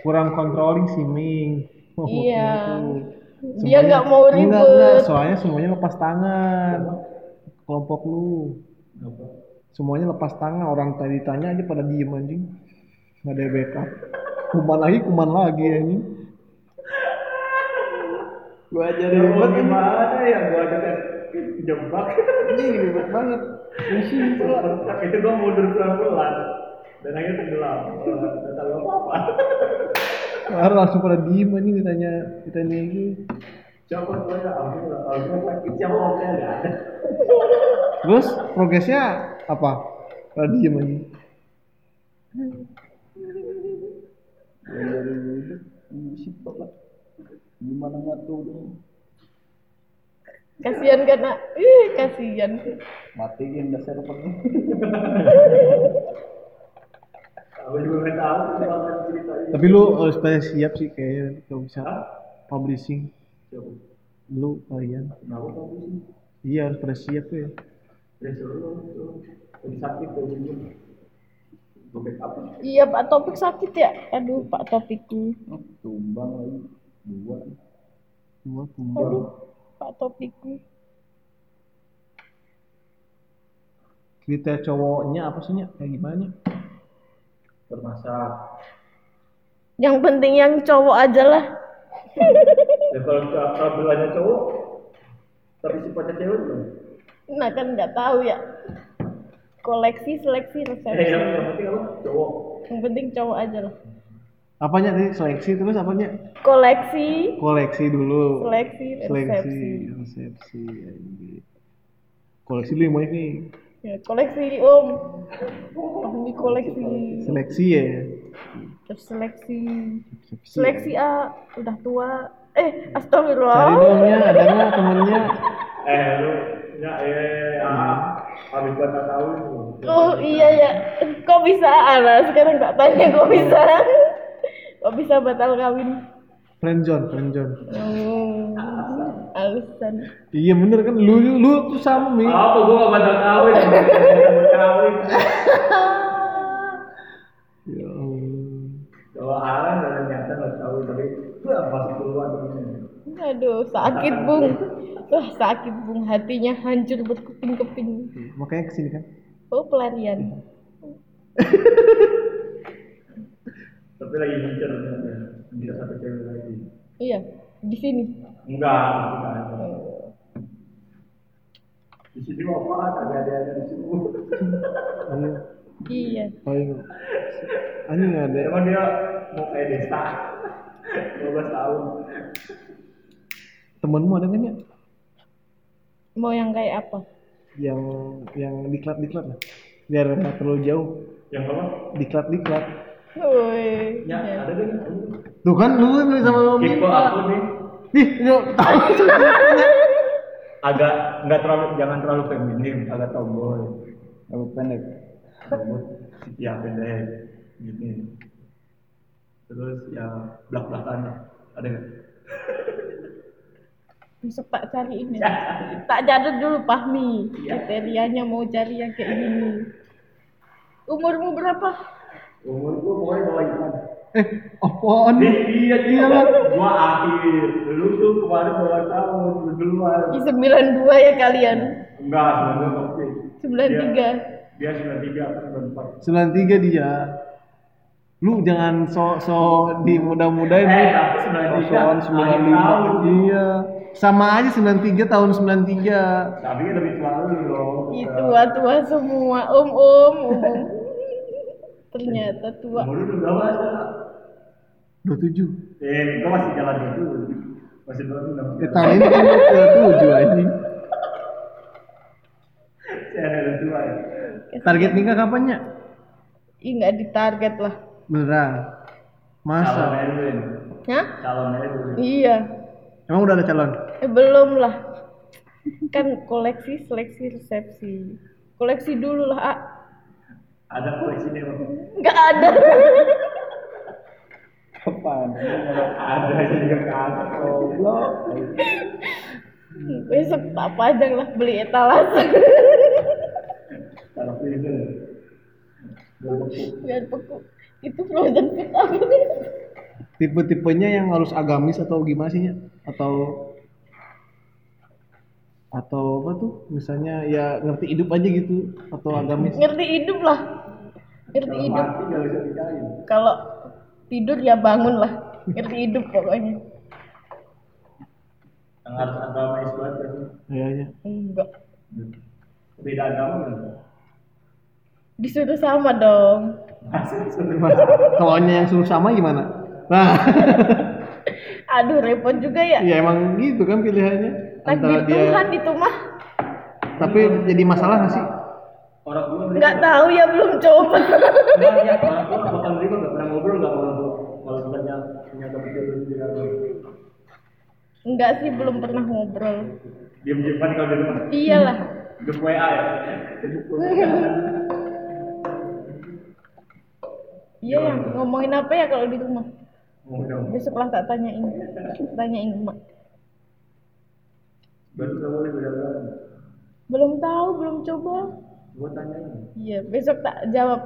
kurang controlling sih Ming Oh,
Iya.
gitu.
dia
Semuanya-
nggak mau ribet
enggak, enggak. soalnya semuanya lepas tangan kelompok lu semuanya lepas tangan orang tadi tanya aja pada diem anjing nggak ada yang backup kuman lagi kuman lagi anjing
Gua aja
Ribet
ribet ini.
gimana ya? Gua ada tes jebak.
Ini ribet banget. Pusing pula.
Tapi itu gua mundur pelan-pelan. Dan akhirnya tenggelam. Dan tahu apa-apa.
Baru langsung pada diem anjing ditanya ditanya gitu. ini
Siapa gua ya? Ampun, ampun, sakit. Siapa oke nggak ada.
terus progresnya apa pada diem anjing
Gua aja ribet. Pusing pula. Gimana ngatur?
Kasihan karena, kan, ah. ih kasihan.
matiin dasar penuh
Aku juga nggak tahu cuma akan cerita ini.
Tapi lu harus pada siap sih kayaknya nanti kalau bisa publishing. Lu kalian.
Kenapa kamu sih?
Iya harus pada siap tuh ya.
Dari Solo, Solo. Dari sakit dari Jogja. Gue backup.
Iya Pak Topik sakit ya? Aduh Pak Topikku.
Oh, tumbang lagi dua
Gua
Aduh
kumbang.
Pak Topikku.
Kriteria cowoknya apa sih nya? Kayak gimana? Nya?
Bermasak.
Yang penting yang cowok aja lah.
Dan Ya, kalau tampilannya cowok, tapi sifatnya cewek belum.
Nah kan nggak tahu ya. Koleksi, seleksi,
Eh, yang
resepsi.
yang penting apa? Cowok.
Yang penting cowok aja lah.
Apanya nih seleksi terus apanya?
Koleksi,
Koleksi dulu.
seleksi,
Seleksi,
resepsi.
resepsi. anjing. Koleksi lu yang banyak nih.
Ya, koleksi Om. Om di koleksi.
Seleksi ya.
Terus seleksi.
Resepsi.
Seleksi A udah tua.
Cari
Eh, astagfirullah.
dong nya, ada nggak temennya?
Eh, lu, ya, eh, ah, habis gua tak tahu.
Oh iya ya, kok bisa Ana sekarang tak tanya kok bisa? Kok bisa batal kawin?
Friendzone, friendzone.
Oh, alasan.
Iya bener kan, lu lu, lu tuh sama mi.
Apa gua gak batal kawin? Batal kawin.
Ya Allah.
Kalau Alan dan ternyata nggak tahu, tapi gua masih keluar temennya.
Aduh, sakit bung. Wah, sakit bung. Hatinya hancur berkeping-keping.
Makanya kesini kan.
Oh, pelarian.
Tapi lagi ngincer ternyata. Ngincer satu cewek lagi.
Iya, di sini.
Enggak, enggak ada. Di sini mau apa? Ada ada ada di sini.
Ayo,
Iya.
ayo. Anjing nggak ada.
Emang dia mau kayak desa. 12 tahun.
Temenmu ada nggak Nya?
Mau yang kayak apa?
Yang yang diklat diklat lah. Biar nggak terlalu jauh.
Yang apa?
Diklat diklat.
Woi.
Ya, ada deh. Ayo.
Tuh kan lu kan sama Mami.
Tipe aku nih
Nih, yuk. tahu.
agak nggak terlalu jangan terlalu feminim, agak tomboy.
rambut pendek
Rambut ya pendek gini. Terus ya belak-belakan ada nggak?
Bisa Pak cari ini. Tak jadul dulu Fahmi. Kriterianya mau cari yang kayak gini. Umurmu berapa?
Umur gua pokoknya bawah Ipan.
Eh, apaan?
Iya, iya, iya. Gua akhir. Lu tuh kemarin bawah tahun, lu duluan.
Di 92 ya kalian.
Enggak, sebenarnya oke.
93.
Dia sembilan tiga, aku sembilan empat.
93 dia. Lu jangan so so di mudah-mudahin.
Eh, aku sembilan tiga.
Soal 95. Iya. Sama aja 93 tahun 93.
Tapi kan lebih tua lu dong.
Ih, tua-tua semua. Om, om, om. om. Ternyata tua.
Umur lu udah masa.
27.
Eh, gua masih jalan dulu. Masih jalan dulu.
Eh, tahun ini kan lu ke tujuh anjing.
Saya ada tua ya.
Target nikah kapannya?
Ih, nggak ditarget lah.
Beneran.
Calon
Masa?
Erwin.
Hah?
Calon Erwin.
Iya.
Emang udah ada calon?
Eh, belum lah. Kan koleksi, seleksi, resepsi. Koleksi dulu lah, A.
Ada koleksi dia. Bang.
Nggak ada.
kapan
Ada Oh, juga kantor.
goblok
Besok tak pajang lah, beli etalase.
Calon freezer.
Biar beku. Itu frozen food apa?
Tipe-tipenya yang harus agamis atau gimana sih? Nya? Atau atau apa tuh misalnya ya ngerti hidup aja gitu atau agamis
Ngerti hidup lah. Ngerti
Kalau
hidup.
mati nggak bisa dicari.
Kalau tidur ya bangun lah. Ngerti hidup pokoknya.
Yang harus agama Islam kan.
kayaknya
Enggak.
Beda agama kan.
Disuruh sama dong.
Mas, kalau nya yang suruh sama gimana nah
Aduh repot juga ya.
ya emang gitu kan pilihannya antara
Takdir Tuhan
dia
itu mah.
tapi jadi masalah nggak sih
Orang tua
Nggak tahu ya belum coba.
Nah, ya, orang tua bakal nerima nggak pernah ngobrol nggak sama orang tua. Kalau misalnya punya tapi dia belum tidak
Enggak sih, belum pernah ngobrol.
Diam-diaman kalau di rumah.
Iyalah.
Grup WA ya.
Iya, yang ngomongin apa ya kalau di rumah?
Oh, dong.
Besoklah tak tanyain. Tanyain emak.
Berarti kamu boleh beda agama.
Belum tahu, belum coba.
Gua tanyain.
Iya, besok tak jawab.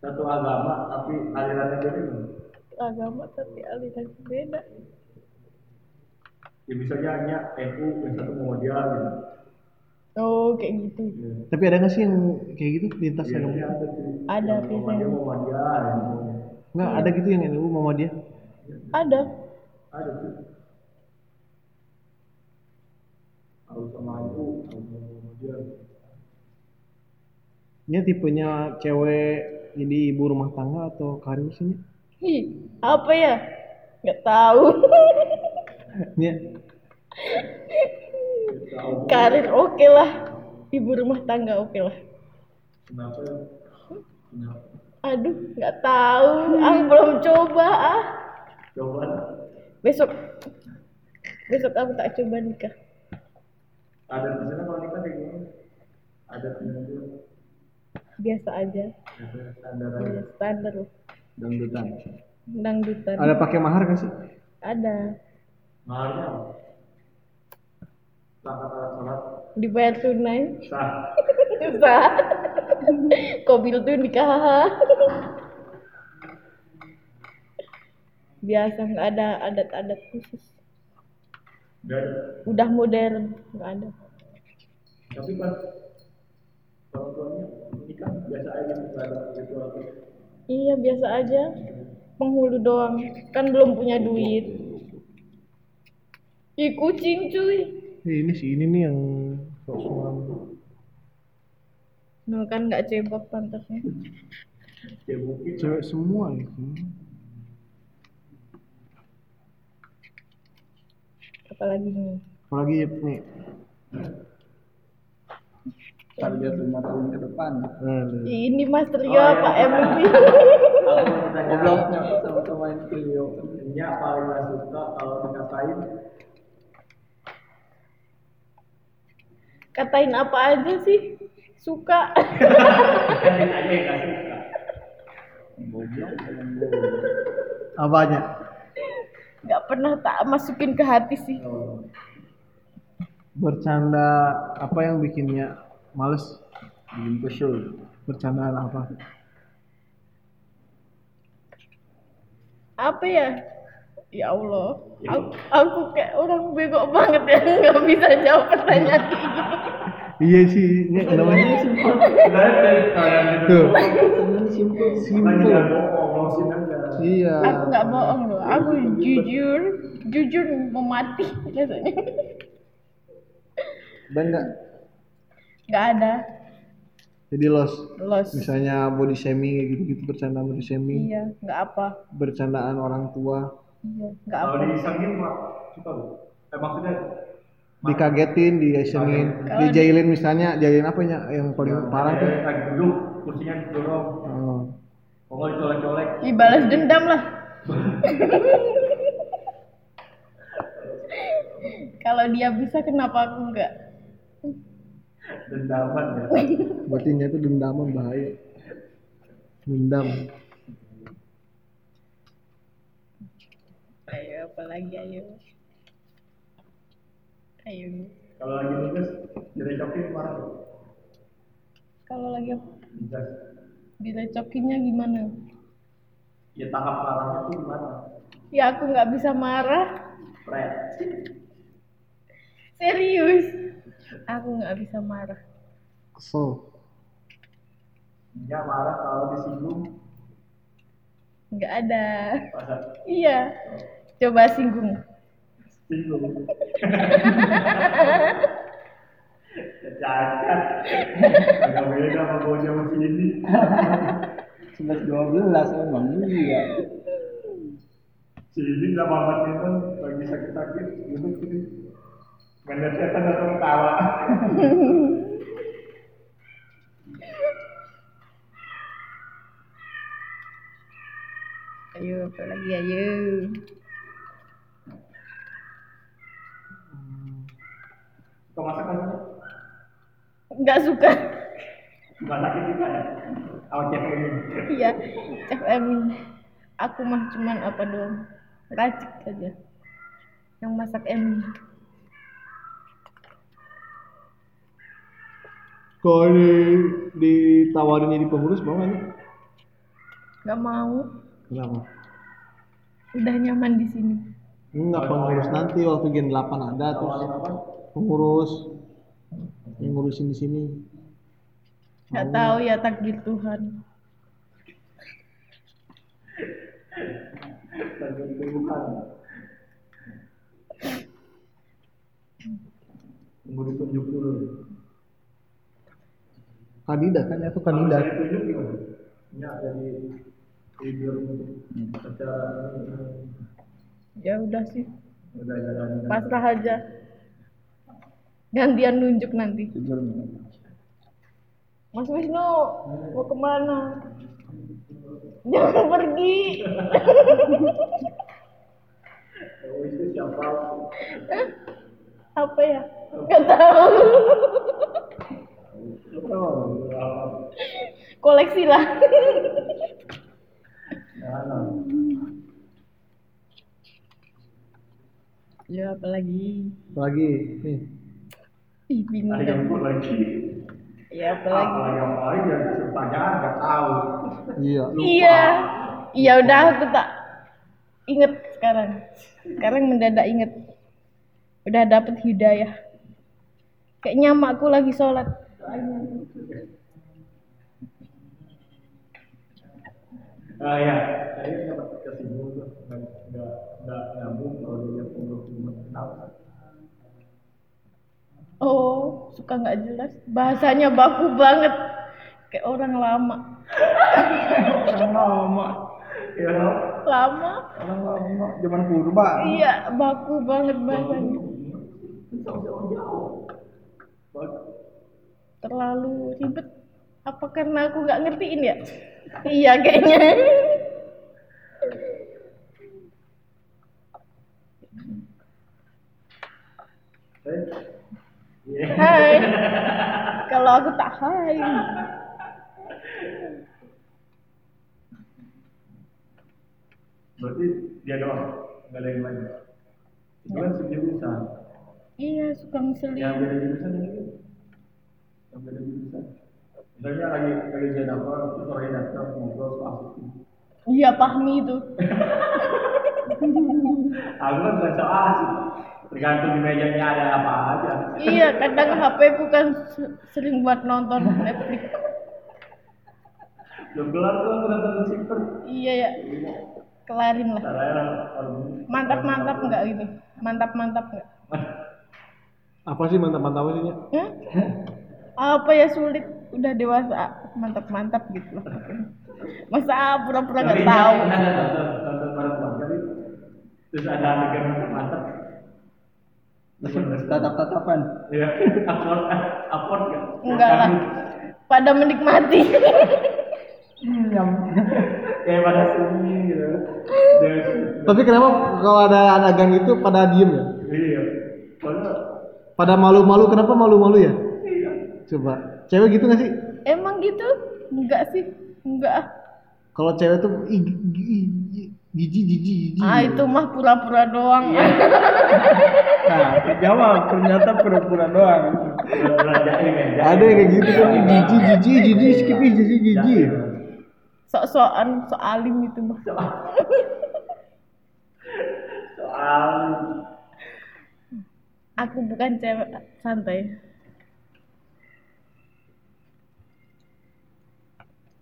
Satu agama tapi alirannya berbeda.
Agama tapi aliran beda.
Ya misalnya hanya NU yang satu Muhammadiyah gitu.
Oh, kayak gitu.
Tapi ada nggak sih yang kayak gitu lintas
Iya,
agama?
iya, ada tuh.
Ada
Yang Muhammadiyah
biasanya.
Muhammadiyah. yang-
Nggak ada gitu yang NU Muhammadiyah?
Ada.
Ada tuh. Harus sama NU, harus sama Muhammadiyah.
Ini tipenya cewek jadi ibu rumah tangga atau karir sih? Nya?
Hi, apa ya? Nggak tahu.
Nya,
Karir oke lah. Ibu rumah tangga oke lah.
Kenapa? Kenapa?
Aduh, nggak tahu. Aku belum coba ah.
Jawaban
Besok besok aku tak coba nikah.
ada di sana kalau nikah kayak gimana? Ada penyanyi
Biasa aja.
ada standar aja.
Iya, Standar loh.
dangdutan
Dangdutan.
ada pakai mahar nggak sih?
Ada.
Maharnya apa? Langkah alat sholat
Dibayar tunai.
sah.
Susah. Kobil tuh nikah. Biasa nggak ada adat-adat khusus.
Dan
Udah modern, nggak ada.
tapi pas orang tuanya nikah biasa aja nggak ada ritual apa.
Iya biasa aja. Penghulu doang. Kan belum punya duit. Ih kucing cuy.
Eh, ini sih ini nih yang soal
Nah kan nggak cebok pantasnya.
Ya mungkin
cewek semua ya. sih.
Apalagi nih.
Apalagi nih,
target lima tahun ke depan
Hmm.
eh,
Ih, Ini Mas Trio Pak MC.
aku mau tanya
gobloknya sama-sama yang trio
Nya paling nggak suka kalau dikatain
Katain apa aja sih? Suka.
katain aja yang nggak suka.
apa aja?
nggak pernah tak masukin ke hati sih.
Bercanda apa yang bikinnya males?
bikin kesel
Bercandaan apa?
Apa ya? Ya Allah. Aku, aku kayak orang bego banget ya nggak bisa jawab pertanyaan kayak gitu.
Iya sih, ini namanya
Sebenarnya dari kalian gitu. itu
tuh.
simpel
banyak
Simple.
yang bohong, ngomongin aja.
Iya.
Aku nggak bohong loh. Aku jujur, jujur mau mati rasanya.
Dan nggak
Nggak ada
jadi los.
los.
Misalnya body shaming kayak gitu-gitu bercandaan body shaming,
Iya, nggak apa.
bercandaan orang tua,
Iya, nggak apa.
Kalau disangin mah suka bu. Eh maksudnya
dikagetin, diesengin,
Kalau di-
dijailin misalnya, jailin apa ya yang paling parah tuh?
eh, lagi duduk kursinya didorong.
Oh.
Kalau nggak dicolek-colek
Ih, balas dendam lah. Kalau dia bisa, kenapa aku nggak?
dendaman ya.
Berarti nya itu dendaman bahaya. Dendam.
Ayo, apalagi ayo. Ayo.
Kalau lagi nugas direcokin marah. Bu.
Kalau lagi
Nugas.
direcokinnya gimana?
Ya tangkap marahnya tuh gimana?
Ya aku nggak bisa marah.
Pret.
Serius. Aku nggak bisa marah.
Kesel.
Dia marah kalau disinggung
Nggak ada.
pada
Iya. Coba singgung.
singgung. Cacat. Agak beda sama gue jam sini.
sebelas dua belas emang iya
Sini sama Ahmad itu lagi sakit-sakit gitu, duduk sini. Mainnya setan atau ketawa.
Ayo, apa lagi ayo.
Suka masak kan?
Enggak suka.
Bukan sakit juga ya? Awal cek ini.
Iya, FM. Aku mah cuman apa doang. Racik aja. Yang masak Em.
Kalau di, ditawarin jadi pengurus mau nggak? Nya?
Enggak mau.
Kenapa?
Udah nyaman di sini.
Enggak pengurus nanti waktu gen 8 ada terus pengurus yang ngurusin di sini.
Enggak tahu ya takdir Tuhan.
Tunggu ditunjuk dulu.
Kandidat kan itu kandidat.
Kalau ditunjuk gimana? Ya, jadi video acara ini
Ya udah sih.
udah jalan.
Pasrah aja. Gantian nunjuk nanti.
Tidur nih.
Mas Wisnu mau kemana? Jangan pergi.
Oh, itu siapa?
Apa ya? Gak tahu.
Oh, ya.
Koleksi lah.
Jangan.
ya apalagi.
Lagi nih.
Ih bingung.
Ada
dah.
yang Ah, pun lagi.
Ya apalagi.
Apa yang lain yang pertanyaan nggak tahu.
Iya.
Iya. Iya udah aku tak inget sekarang. Sekarang mendadak inget. Udah dapet hidayah. Kayaknya emakku lagi sholat.
Ah ya, saya dapat kesinggung tuh nggak nggak nggak nyambung kalau dia yang pengurus rumah tahu.
Oh, suka nggak jelas. Bahasanya baku banget. Kayak orang lama.
Orang lama.
Iya loh.
Lama?
Orang lama zaman purba.
Iya, baku banget bahasanya. Terlalu ribet. Apa karena aku nggak ngertiin ya? iya kayaknya.
Eh, iya.
Hai. Kalau aku tak hai.
Berarti dia doang, nggak ada yang lain. Itu kan sejurusan.
Iya, suka
Yang
ngeselin.
beda jurusan ini, yang beda jurusan. Misalnya lagi lagi jadi apa, terus orang yang datang ngobrol soal asik.
Iya, pahmi itu.
Aku kan bukan soal asik. Tergantung di mejanya ada apa aja.
Iya, kadang HP ku kan se- sering buat nonton Netflix.
Belum kelar tuh aku datang ke Shifter.
Iya ya. Kelarin lah.
Caranya orang orang
Mantap-mantap nggak gitu? Mantap-mantap nggak?
Apa sih mantap-mantap sih Nya?
Hah? Apa ya sulit? Udah dewasa, ah, mantap-mantap gitu loh. Masa ah, pura-pura
Tapi
nggak
ini
tahu?
ada nonton nonton bareng keluarga nih. Terus ada adegan yang mantap.
Tatap-tatapan.
Iya, upload upload nggak?
Enggak lah. Pada menikmati.
Kayak pada sunyi gitu. Dan-
Tapi kenapa kalau ada adegan gitu pada diem ya?
Iya. Soalnya
Pada malu-malu kenapa malu-malu ya?
Iya.
Coba. Cewek gitu gak sih?
Emang gitu? Enggak sih. Enggak. ah.
Kalau cewek tuh ih, ih, ih, jijik jijik jijik.
Ah, itu mah pura-pura doang.
Nah, jawab ternyata pura-pura doang.
belajar ini meja.
Ada yang kayak gitu kan ih, jijik jijik jijik skip ih, jijik jijik.
Sok-sokan, sok alim itu mah.
Soal
Aku bukan cewek santai.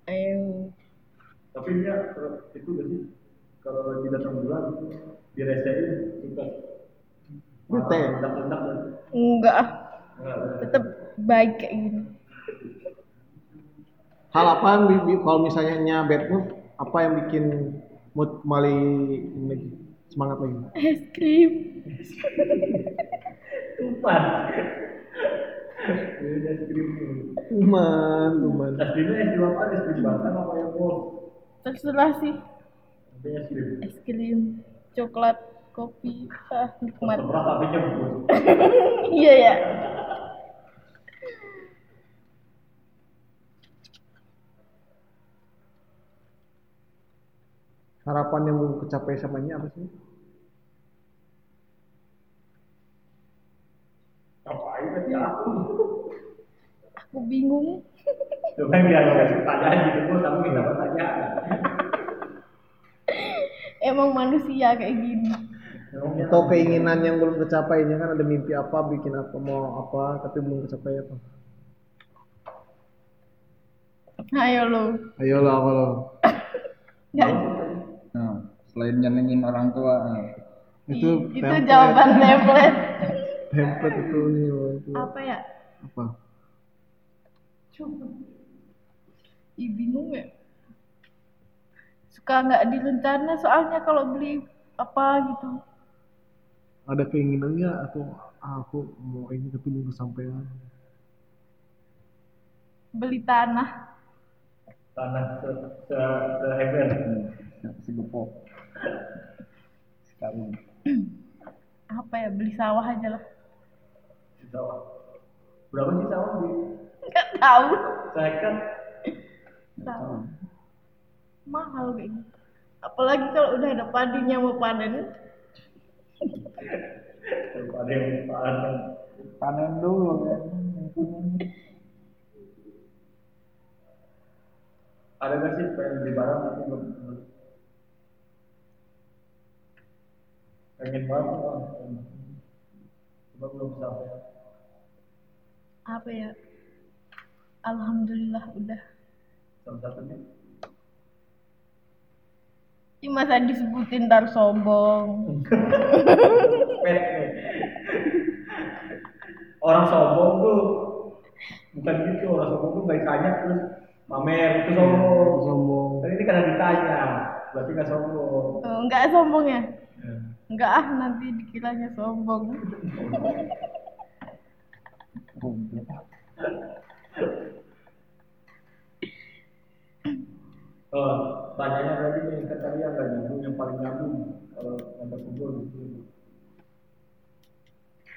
Ayo.
tapi dia kalau itu gak sih kalau lagi datang bulan diresein suka
Bete.
ledak-ledak dan
Enggak, ah. tetap baik kayak gini.
Hal apa yang bi- bi- kalau misalnya nya bad mood apa yang bikin mood kembali ini lagi, semangat lagi?
Es krim.
Tumpah. Ini es krim.
Cuman, cuman.
Es krimnya es krim apa? Es krim batang apa yang bos?
Terserah sih.
Kayaknya sih.
es krim coklat kopi ah nikmat
Sebelah tapinya bubur.
iya ya
Harapan yang lu kecapai sama ini apa sih?
Ngapain tadi aku?
aku bingung
Coba biar kasih pertanyaan gitu gua tapi kita pertanyaan.
emang manusia kayak gini
Emangnya
Atau keinginan yang belum tercapai ini kan ada mimpi apa, bikin apa, mau apa, tapi belum tercapai apa?
ayo lo
Ayolah kalau
nggak
Nah, selain nyenengin orang tua, nah.
itu
itu
template.
jawaban template
template itu ini loh, itu
apa ya
apa?
coba Ih, bingung ya suka nggak direncana soalnya kalau beli apa gitu
Ada keinginannya aku aku mau ini tapi belum kesampaian.
beli tanah
tanah se se sehebat.
segepok. Sekarang
apa ya beli sawah aja lah
Sawah. Berapa sih sawah kan, di
nggak tahu
sehektar?
sawah mahal kayak gitu apalagi kalau udah ada padinya mau panen
Coba ada yang panen.
panen dulu kan. yang kuning.
Ada nggak sih pengen beli barang tapi belum belum? Pengen banget kan? Cuma belum sampai.
apa ya alhamdulillah udah
Salah satunya.
Ih, masa disebutin dar sombong
pet nih. orang sombong tuh bukan gitu orang sombong tuh baik tanya terus mamer itu sombong
Iya, Sombong.
tapi ini karena ditanya berarti nggak sombong
Eh, nggak sombong ya nggak ah nanti dikiranya sombong
oh tanyanya berarti nih kan tadi yang nggak nyambung yang paling nyambung kalau yang terkumpul gitu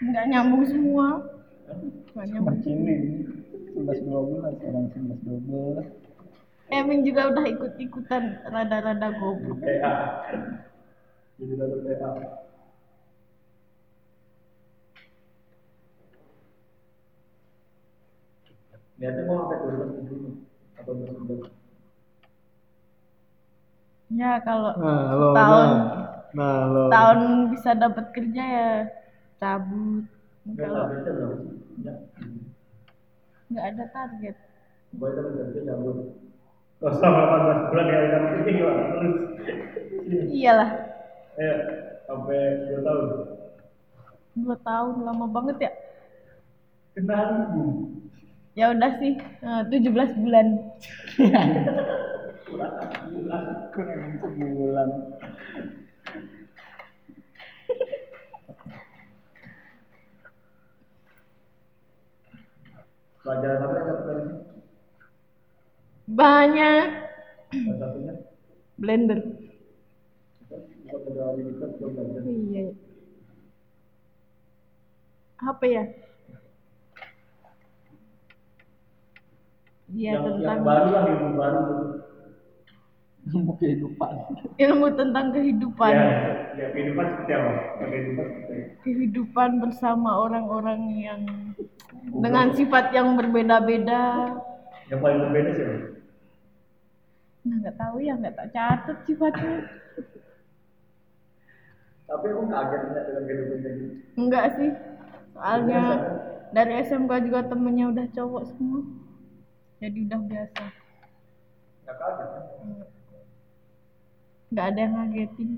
nggak nyambung semua nggak nyambung
Cilik. 11 12 orang 11 12.
Emang juga udah ikut-ikutan rada-rada goblok
PA jadi lalu PA Niatnya mau sampai 2027 atau 2029
ya kalau
Nah, lo,
Setahun.
nah, nah lo.
tahun bisa dapat kerja ya cabut
Enggak
kalau
targetnya berapa sih? Ya.
nggak ada target
Gue itu kerja cabut. Kalau sama 18 bulan ya udah mungkin gua terus.
iyalah
Eh sampai 2 tahun.
dua tahun lama banget ya
Kena album.
ya udah sih eh, 17 bulan
Kurang sebulan.
Pelajaran apa yang dapat dari sini?
banyak
Salah satunya
blender
kita kerja di dekat gua belajar.
iya apa ya Iya
Yang yang
Ya, tentang
baru lah ilmu baru gitu.
Mau kehidupan.
ilmu tentang kehidupan
Ya, ya kehidupan seperti apa? Kehidupan seperti apa?
kehidupan bersama orang-orang yang dengan sifat yang berbeda-beda.
Yang paling berbeda sih. Bang.
Nah, nggak tahu ya, nggak tak catat sifatnya.
Tapi aku kaget nggak dengan kehidupan kayak gitu.
Enggak sih. Soalnya dari SMK juga temennya udah cowok semua. Jadi udah biasa.
Nggak kaget. kan?
Nggak ada yang ngagetin.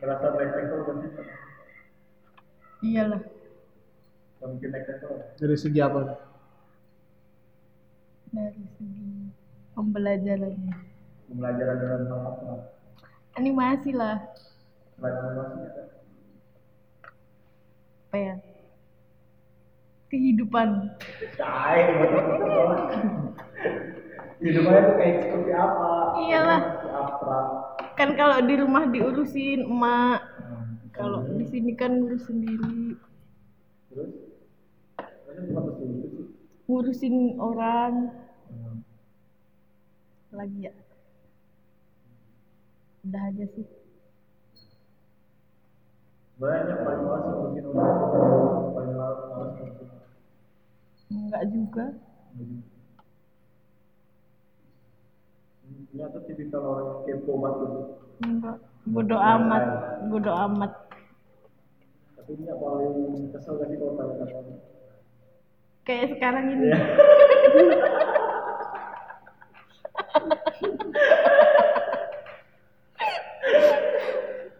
Ngerasa naik level kan sih?
Iyalah.
Nggak mungkin naik level.
Dari segi apa?
Dari segi pembelajarannya.
Pembelajaran dalam hal apa?
Animasi lah.
Pelajaran masih ada.
ya? kehidupan
Tai, bener-bener. Hidupnya tuh kayak seperti apa?
Iyalah.
Seperti Abstrak.
kan kalau di rumah diurusin emak kalau di sini kan ngurus sendiri
Terus? Ini bukan mesin gitu sih.
ngurusin orang lagi ya udah aja sih
Banyak paling malas yang bikin orang. Paling malas malas yang bikin orang.
enggak juga
Ini tuh tipikal orang yang kepo banget gitu.
enggak bodo amat bodo amat
Tapi ini yang paling kesel gak sih kalau tanya tanya
kayak sekarang ini
Iya.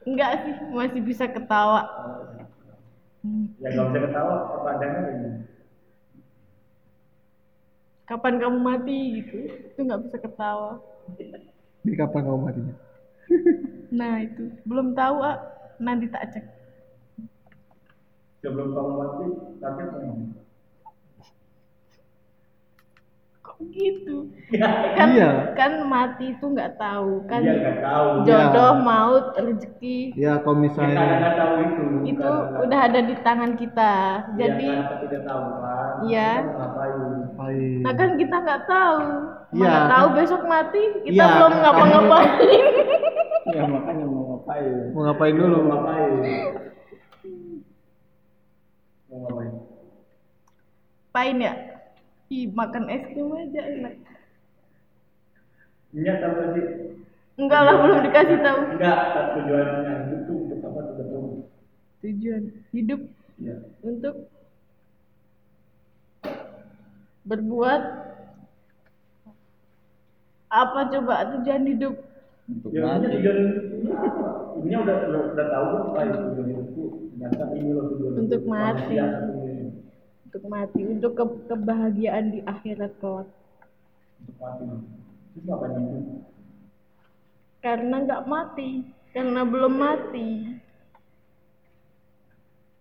enggak sih masih bisa ketawa Hmm.
Ya gak bisa ketawa, pertanyaannya ini.
kapan kamu mati gitu itu nggak bisa ketawa
Jadi kapan kamu matinya?
nah itu belum tahu ah nanti tak cek
Sebelum kamu mati, sakit nggak?
kok gitu
Ya,
kan
Iya.
kan mati itu nggak tahu kan
Iya gak tahu.
jodoh maut rezeki
Ya kalau
Kita
misalnya
nggak tahu itu.
itu
bukan-
udah ada di tangan kita jadi
Iya, kan, tidak tahu kan.
Iya.
Kita mau Ngapain?
Baik.
nah kan kita nggak tahu
Iya,
nggak tahu
kan-
besok mati kita
Iya,
belum
kan-
ngapa-ngapain
ya makanya mau ngapain
mau ngapain dulu?
Mau ngapain? Mau ngapain?
pain ya Ih, makan es krim aja enak
Iya tahu nggak sih?
enggak lah belum dikasih tahu
Enggak, kan tujuannya itu untuk apa tidak tahu.
tujuan hidup
Iya.
untuk berbuat apa coba tujuan hidup
untuk
Ya, ini
mati
tujuan ini udah udah, udah tahu kan apa itu tujuan hidupku. Ternyata ini loh tujuan
Untuk
hidup.
mati.
Manusia satunya.
untuk mati untuk ke- kebahagiaan di akhirat kelak
Untuk mati. Terus ngapain itu?
karena nggak mati karena belum mati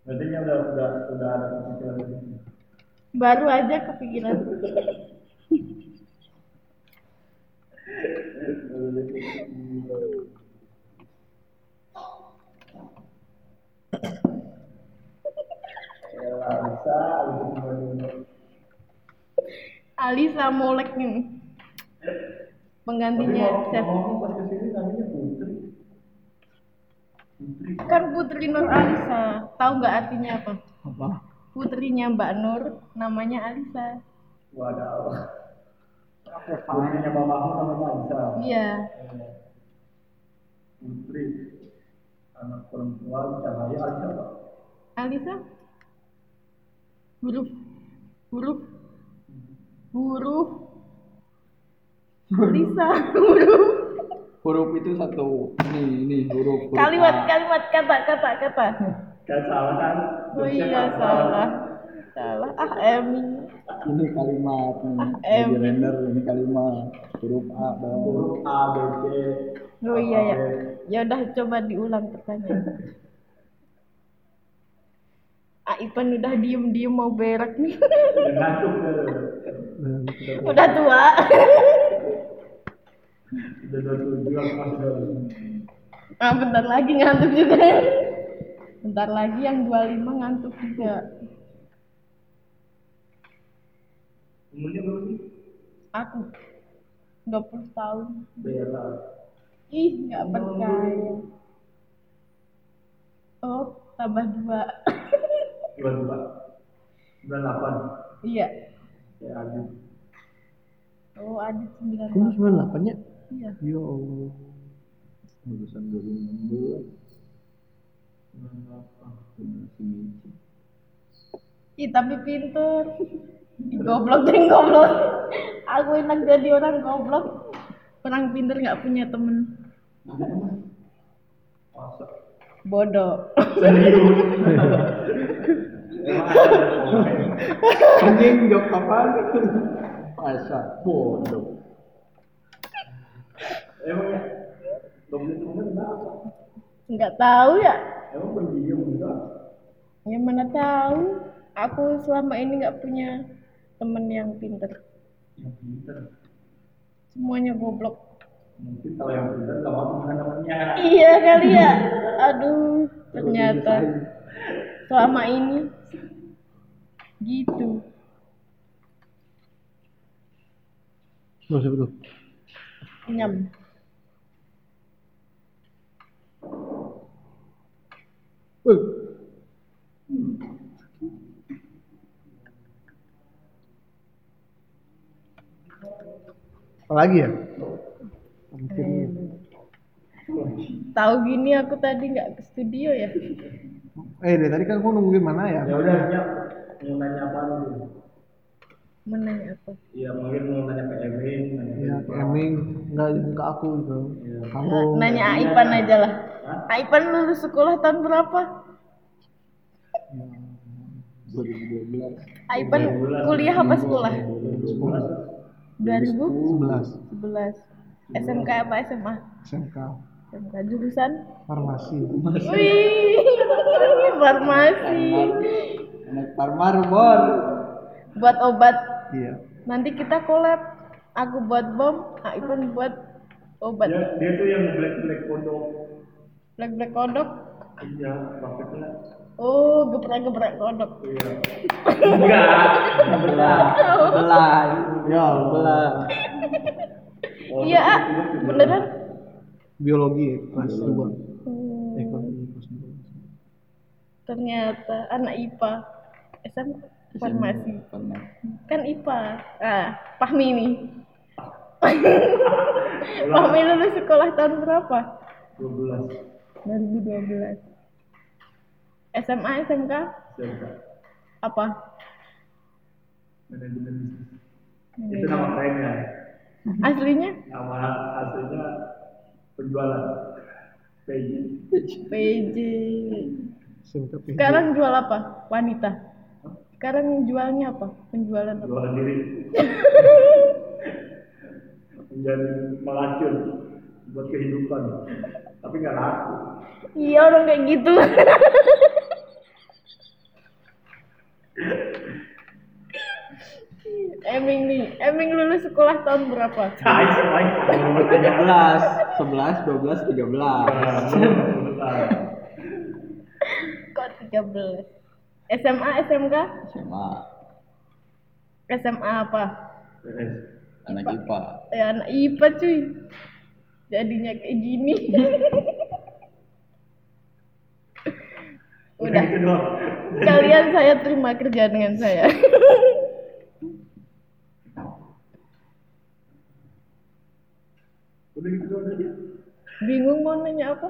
Berarti ini udah udah udah ada kepikiran itu.
baru aja kepikiran
Ya, bisa, untuk semuanya.
Alisa Molek nih
Tapi
penggantinya
mau
Iya, Chef
ngomong Iya, pas kesini namanya Putri. Putri.
kan Putri Nur Alisa tahu nggak artinya apa
Apa?
putrinya Mbak Nur namanya Alisa
Waduh. Putrinya mamamu namanya Aisyah.
iya
Putri. Anak perempuan cahaya Aisyah, Pak.
Alisa? Huruf huruf huruf Alisa huruf
huruf itu satu ini ini huruf, huruf A.
kalimat kalimat kata kata kata
Kan salah kan?
oh iya
Jokesnya kan
salah salah ah Emi
ini kalimat nih
Ah,
lagi
em.
render ini kalimat huruf A dong
Huruf A, B, C.
oh iya ya ya udah coba diulang pertanyaan Ah, Ipan udah diem-diem mau berak nih.
Udah ngantuk ya.
udah tua.
Udah 27 aku masih dalam.
Ah, bentar lagi ngantuk juga. Bentar lagi yang 25 ngantuk juga.
Umurnya berapa sih?
Aku 20 tahun.
Bella.
Ih, nggak percaya. Oh, tambah dua.
Dua dua. Sembilan delapan. Ya,
iya.
Kayak Adit.
Oh, ada 9
Kamu
tahun.
98 nya?
Iya.
Ya Allah.
urusan 2016
Sembilan delapan.
ini
Ih, tapi pinter. Goblok deh, goblok. Aku enak jadi orang goblok. Orang pinter nggak punya temen.
Masa?
Bodoh.
Serius. Emang ada yang komen?
anjing jawab kapan masa bodoh
Emang ya? Goblin komen kenapa?
Nggak tahu ya.
Emang pendiam juga?
Ya mana tahu. aku selama ini nggak punya temen yang pinter
yang pinter
semuanya goblok
mungkin kalau yang pinter nggak mau temenan namanya
iya kali ya aduh ternyata selama ini gitu
Loh, siapa tuh?
nyam
Woi, apa lagi ya?
Eh, tahu gini aku tadi nggak ke studio ya
Eh, dari tadi kan gua nungguin mana ya?
ya udah nyap mau nanya apa lu
menanya apa
ya mungkin mau nanya ke Emin nanya ke
Ya, ke Eming, nggak ke aku gitu.
Ya.
Kamu
nanya Aipan aja lah Aipan lulus sekolah tahun berapa
2012
Aipan kuliah apa sekolah 2011
11
SMK apa SMA
SMK
SMK jurusan
farmasi.
Wih, farmasi
anak parmar bor
buat obat
Iya.
nanti kita collab aku buat bom Aipan buat
dia,
obat
dia tuh yang black black kodok
black black kodok
iya maksudnya
oh gebrak gebrak kodok
iya enggak
belah belah ya belah
iya ah, beneran
Biologi kelas 2.
Hmm,
Eh, kelas kelas dua.
ternyata anak IPA SM farmasi kan IPA ah Fahmi nih Fahmi lulus sekolah tahun berapa
12
2012 SMA SMK
siapa
apa
manajemen bisnis itu nama kerennya
aslinya
nama aslinya penjualan Peggy
PJ
SMK PJ.
sekarang jual apa wanita sekarang jualnya apa penjualan apa
jualan diri menjadi melacur buat kehidupan tapi nggak laku
iya orang kayak gitu Eming nih, Eming lulus sekolah tahun berapa?
cai cai
13 11 12 13
Kok 13? SMA, SMK?
SMA
SMA apa?
anak IPA
Ya anak IPA cuy. Jadinya kayak gini. Udah,
itu Gitu doang
kalian saya terima kerja dengan saya.
udah gitu doang aja
Bingung mau nanya apa?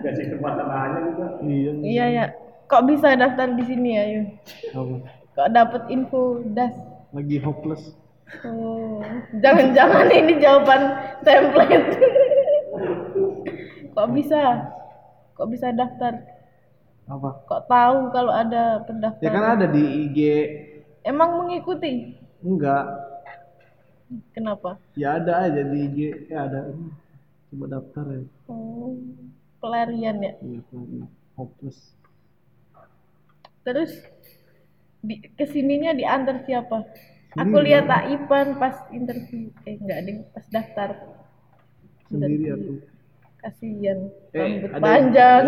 dikasih kesempatan aja juga
Iya.
Iya ya. Kok bisa daftar di sini ya, Yun?
Apa?
Kok dapat info das?
Lagi hopeless.
Oh, jangan-jangan ini jawaban template. Kok bisa? Kok bisa daftar?
Apa?
Kok tahu kalau ada pendaftaran?
Ya kan ada di IG
Emang mengikuti?
enggak
Kenapa?
ya ada aja di IG ya ada ini coba daftar ya
Oh, pelarian ya.
iya kan hopeless
Terus di kesininya diantar siapa? Aku lihat tak Ipan pas interview. Eh enggak ding, pas daftar.
sendiri
Interview.
aku
Kasihan,
Eh,
rambut
ada- Iya.
panjang.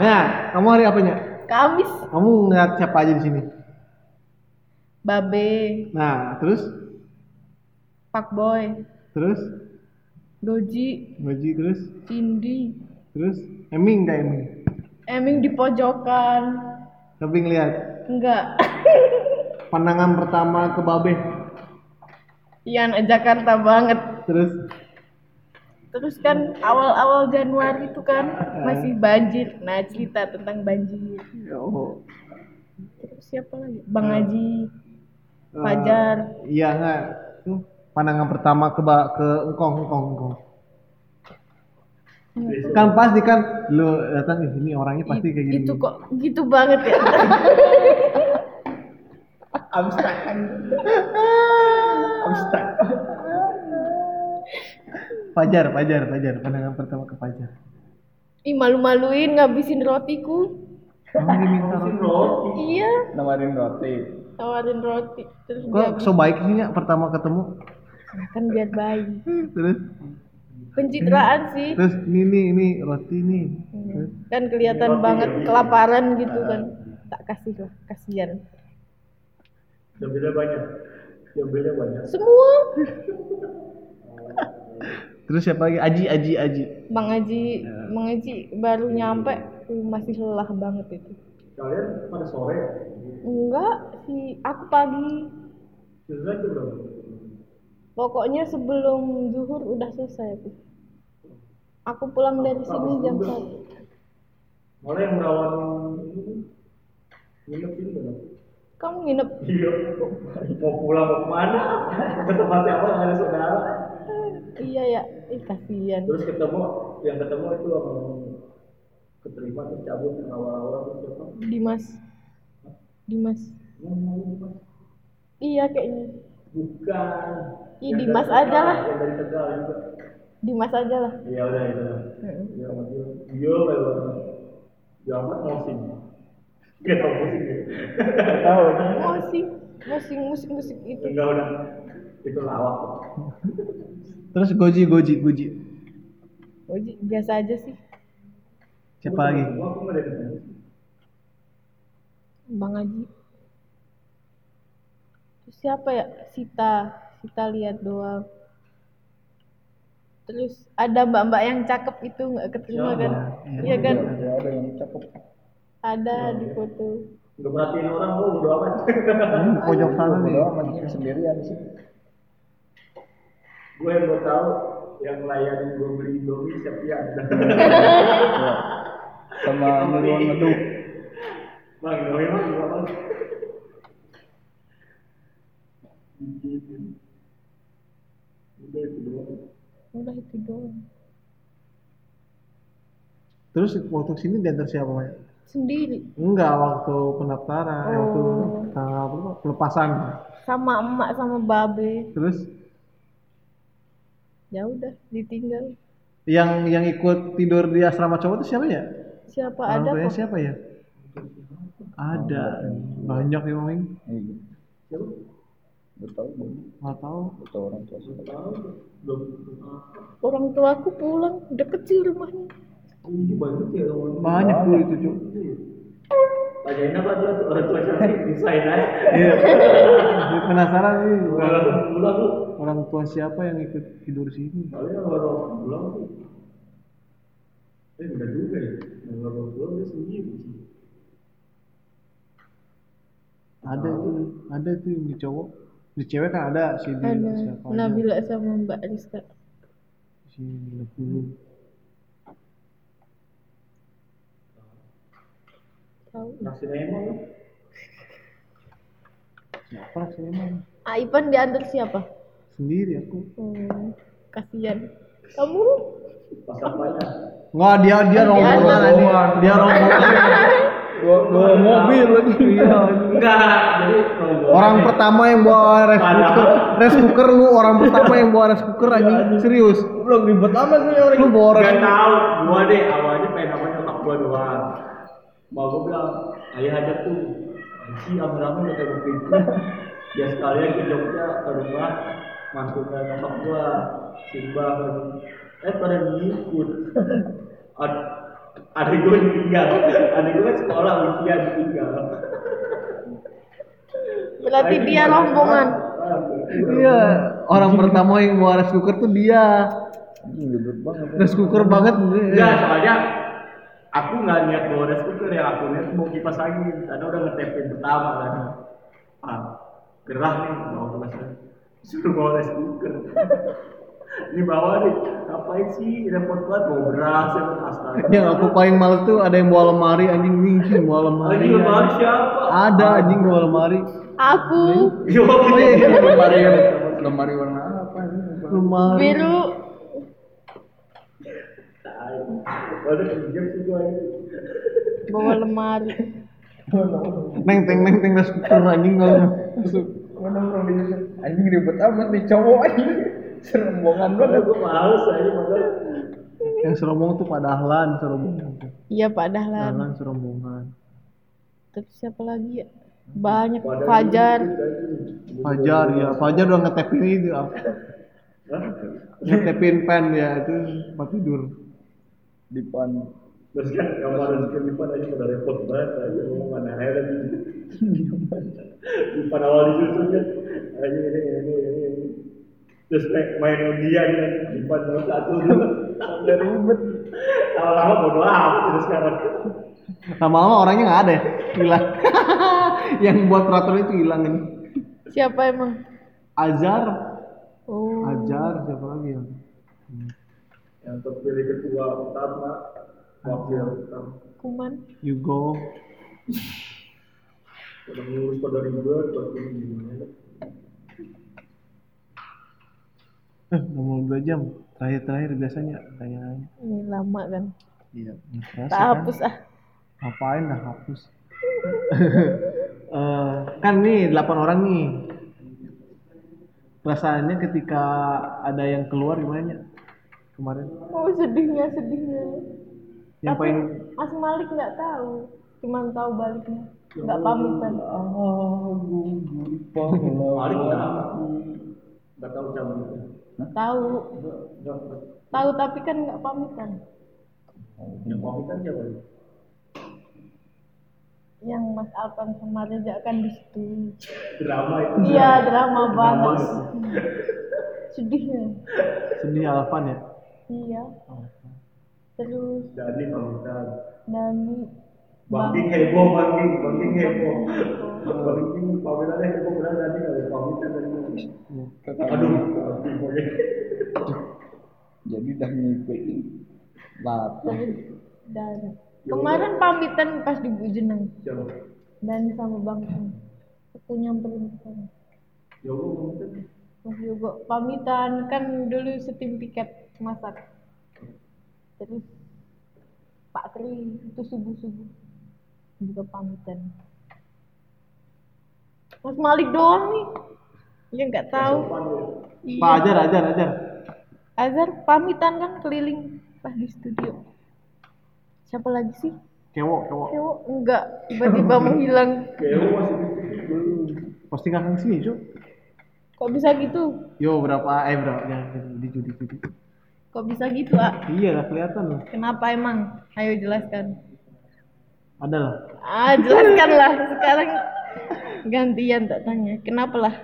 nah kamu hari apanya
Kamis,
kamu ngeliat siapa aja di sini
babe,
nah terus
Pakboy,
terus
Doji,
Baji terus
Cindy,
terus Eming gak Eming
Eming di pojokan.
tapi ngeliat
Enggak.
pandangan pertama ke Babe
Iya anak Jakarta banget.
terus
Terus kan awal-awal Januari itu kan masih banjir. Nah, cerita tentang banjir.
oh
Terus siapa lagi? Bang Haji,
eh,
Fajar.
iya nggak tuh pandangan pertama ke ba ke engkong engkong engkong kan pasti kan lu datang di sini orangnya pasti kayak gini
Itu kok gitu banget ya?
Fajar, Fajar, Fajar. Pandangan pertama ke Fajar.
Ih, malu-maluin ngabisin rotiku.
Kamu diminta roti.
iya
nawarin roti
tawarin roti terus
Kok
dia
so baik sih ya pertama ketemu?
kan biar bayi
Terus
pencitraan sih
terus ini nih ini roti nih. Terus
kan kelihatan
Iya.
banget kelaparan gitu kan tak kasih lah kasihan
Jambilnya banyak. Jambilnya banyak.
semua
terus siapa lagi? Aji Aji Aji.
Bang
Iya.
Aji, Bang Aji baru nyampe uh, masih lelah banget itu.
Kalian pada sore,
Enggak sih, aku pagi.
sudah itu berapa?
Pokoknya sebelum zuhur udah selesai aku. Aku pulang dari sini jam satu.
Malah yang merawan ini, nginep ini kan?
Kamu nginep?
Iya. Mau pulang mau kemana? Ke tempat siapa nggak ada saudara?
Iya ya, ih kasihan.
Terus ketemu, yang ketemu itu sama keterima terus cabut yang awal-awal terus siapa?
Dimas. Dimas.
Yang mau Dimas?
Iya kayaknya.
Bukan.
Ih,
Yang
Dimas
dari
aja
Tegal,
lah.
Yang dari Tegal juga.
Dimas aja lah.
Iya udah itu. lah.
Heeh.
Iya sama dia. Iya lewat. Jamat musim. Gak tau musim ya. Gak tau.
Musik, musik, musik, musik itu.
Enggak udah. Itu lawak.
Terus Goji Goji Goji.
Oji, biasa aja sih.
Siapa lagi?
Gua aku nggak ada di sini.
Bang Haji. Terus siapa ya? Sita. Sita lihat doang. Terus ada mbak-mbak yang cakep itu nggak keterima kan? Iya kan?
ya ada yang cakep Iya.
Ada di foto.
Nggak merhatiin orang gua udah amat.
Ini di pojok sana nih.
udah maksudnya sendirian sih
Gue yang gua tahu yang layanin gua beli Indomie Septian.
Ya.
Iya,
sama ngeluang ngeduk
Bang, Indomie bang, gua bang. Udah itu doang.
Udah itu doang.
Terus waktu sini diantar siapa Maya?
Sendiri.
Enggak waktu pendaftaran,
Oh.
waktu tanggal berapa? pelepasan.
Sama emak sama babe.
Terus
Ya udah, ditinggal.
yang yang ikut tidur di asrama cowok itu siapa ya?
Siapa
Orang
ada
tuanya
kok?
siapa ya? Ada banyak ya, yang main.
iya
Siapa?
gue tau gue
Nggak tahu.
tau orang tua sih
Nggak tahu. Belum. belum.
Orang tua aku pulang. Udah kecil rumahnya.
Ini banyak ya orang
Banyak tuh itu cuy.
Tanyain apa tuh orang tua siapa desain aja.
Iya. Jadi penasaran sih
Gua langsung pulang lu.
orang tua siapa yang ikut tidur sini?
Kalian orang orang pulang tuh. Eh udah juga ya. Yang Orang orang pulang dia sendiri. sih.
Ada tuh, ada tuh yang di cowok, di cewek kan ada si Bila,
Ada Nah,
siapa aja.
Nabila sama Mbak Rizka.
si Bila dulu.
Tahu.
Naksir emang lu.
Siapa sih emang?
Aipan Ah, diantar siapa?
Sendiri aku.
Hmm, kasihan. Kamu
Pas apanya?
Nggak dia dia rombongan
ada.
tadi. Dia rombongan.
gue mobil lagi iya
Enggak. Jadi kalau gua-
Orang pertama yang bawa rice cooker, rice cooker lu orang pertama yang bawa rice cooker anjing serius.
Iya, belum ribet amat nih orang
Lu bawa rice
Gak tau, gua deh awalnya pengen apa nyokap gua doang Mau gua bilang, ayo aja tuh Si Amrama udah kayak begitu Ya sekalian ke Jogja, ke rumah Mantunya nyokap gua Simba kan Eh pada ngikut Ad- Adik gua ditinggal Adik gua kan sekolah ujian ditinggal
berarti dia rombongan.
Iya, orang pertama yang bawa rice cooker tuh dia.
Anjing, ribet banget
Rice cooker banget.
Enggak, soalnya aku nggak niat bawa rice cooker ya, aku niat mau kipas angin karena udah ngetepin pertama kan. Ah, gerah nih bawa kipas angin. Suruh bawa rice cooker. Ini bawa nih, ngapain sih repot banget bawa beras ya astaga.
Iya, Yang aku paling males tuh ada yang bawa lemari anjing nih, sih, bawa
Lagi
lemari.
lebar siapa?
Ada anjing bawa lemari.
Aku
Yo, iya.
lemari lemari warna apa ini
Lemari.
biru
Waduh, pinjam sih gua ini.
bawa lemari.
Neng teng neng teng rice cooker anjing kalau.
anjing ribet amat nih cowok anjing serombongan
Padahal
banget
gua males aja, padahal.
Yang serombong tuh pada Ahlan, serombongan.
Iya Pak Dahlan.
Nah, Ahlan serombongan.
Terus siapa lagi ya? Banyak Fajar.
Fajar ya, Fajar udah ngetepin itu ah. Ngetepin pen ya itu tempat tidur.
di pan
Terus kan yang pada bikin lipat aja pada repot banget aja ngomong mana heran gitu. Lipat awal disusun kan. Aja ini ini ini ini. Terus main- main undian kan lipat nomor satu dulu. Udah ribet. Lama-lama bodo amat terus sekarang.
Lama-lama orangnya nggak ada, ya? hilang. Yang buat peraturan itu hilang ini.
Siapa emang?
Azar,
Oh.
Azar siapa lagi ya?
Yang terpilih ketua utama wakil utama.
Kuman.
Hugo,
Pada ngurus pada ribet pada ini gimana.
eh udah mau dua jam. Terakhir-terakhir biasanya kayaknya.
Ini lama kan.
Iya,
Tak hapus ah.
Ngapain dah hapus? Eh, kan nih 8 orang nih. Perasaannya ketika ada yang keluar gimana ya? Kemarin
Oh sedihnya sedihnya.
yang
Tapi
paling
Mas Malik nggak tahu, cuman tahu baliknya. Nggak
Oh,
pamitan.
nah.
Oh.
Paling udah amat. Gak tahu cabangnya.
Tahu,
Enggak, enggak.
tahu tapi kan nggak pamitan.
Yang pamit kan siapa?
Yang Mas Alpan sama Reza kan di situ.
Drama itu.
Iya drama banget. Sedihnya.
sedih Alvan ya.
Iya. Terus
Jadi pamitan.
Nani.
Bangking heboh, bangking, bangking heboh. Bangking pamitannya heboh benar tadi kalau pamitan dari Aduh, oke.
jadi udah ngikutin lapar
Terus dan kemarin pamitan pas di Bujeneng
Coba.
dan sama Bang Em. Aku nyamperin ke sana.
Ya Allah, pamitan.
Mas Yogo pamitan kan dulu setim tiket masak terus Pak Tri itu subuh subuh juga pamitan Mas Malik doang nih dia nggak tahu Iya.
Pak Ajar, Ajar, Ajar.
Azhar pamitan kan keliling pas di studio siapa lagi sih
Cewek, cewek.
Kewo enggak tiba-tiba menghilang
Kewo masih di sini.
Pasti kakak sini, Cuk.
kok bisa gitu
Yo, berapa eh berapa ya, di judi judi.
kok bisa gitu ah
Iya, lah kelihatan lah.
kenapa emang ayo jelaskan
Ada lah.
Ah, jelaskanlah sekarang gantian tak tanya. Kenapa lah?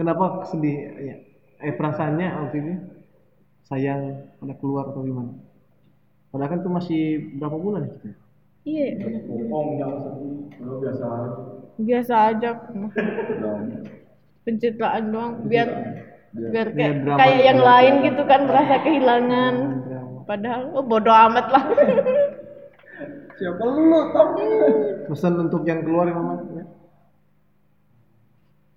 Kenapa sedih ya? Eh perasaannya waktu itu sayang pada keluar atau gimana? Padahal kan itu masih berapa bulan ya? kita?
Iya, iya.
Bohong, jangan sedih. Kalau biasa aja.
biasa aja aku mah. pencitraan doang biar biar kayak,
drama
kayak yang lain gitu kan merasa kehilangan. Padahal oh bodoh amat lah.
siapa lu tapi
Pesan untuk yang keluar ya mama ya.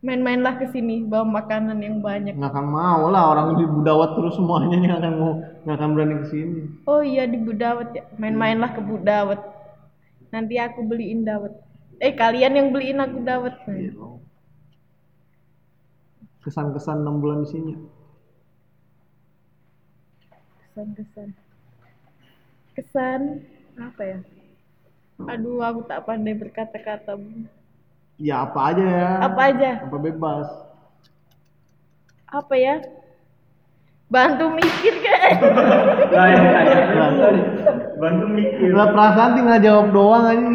Main-mainlah ke sini bawa makanan yang banyak.
nggak akan mau lah orang di budawat terus semuanya nggak akan mau nggak akan berani ke sini
Oh iya di Budawet ya. Main-mainlah ke Budawet. Nanti aku beliin dawet. Eh kalian yang beliin aku dawet.
Iya. Oh. kesan-kesan enam bulan di sini
kesan kesan kesan apa ya aduh aku tak pandai berkata-kata Bu.
ya apa aja ya
apa aja
apa bebas
apa ya bantu mikir kan
Lah, yang kayak bantu mikir.
lah perasaan tinggal jawab doang aja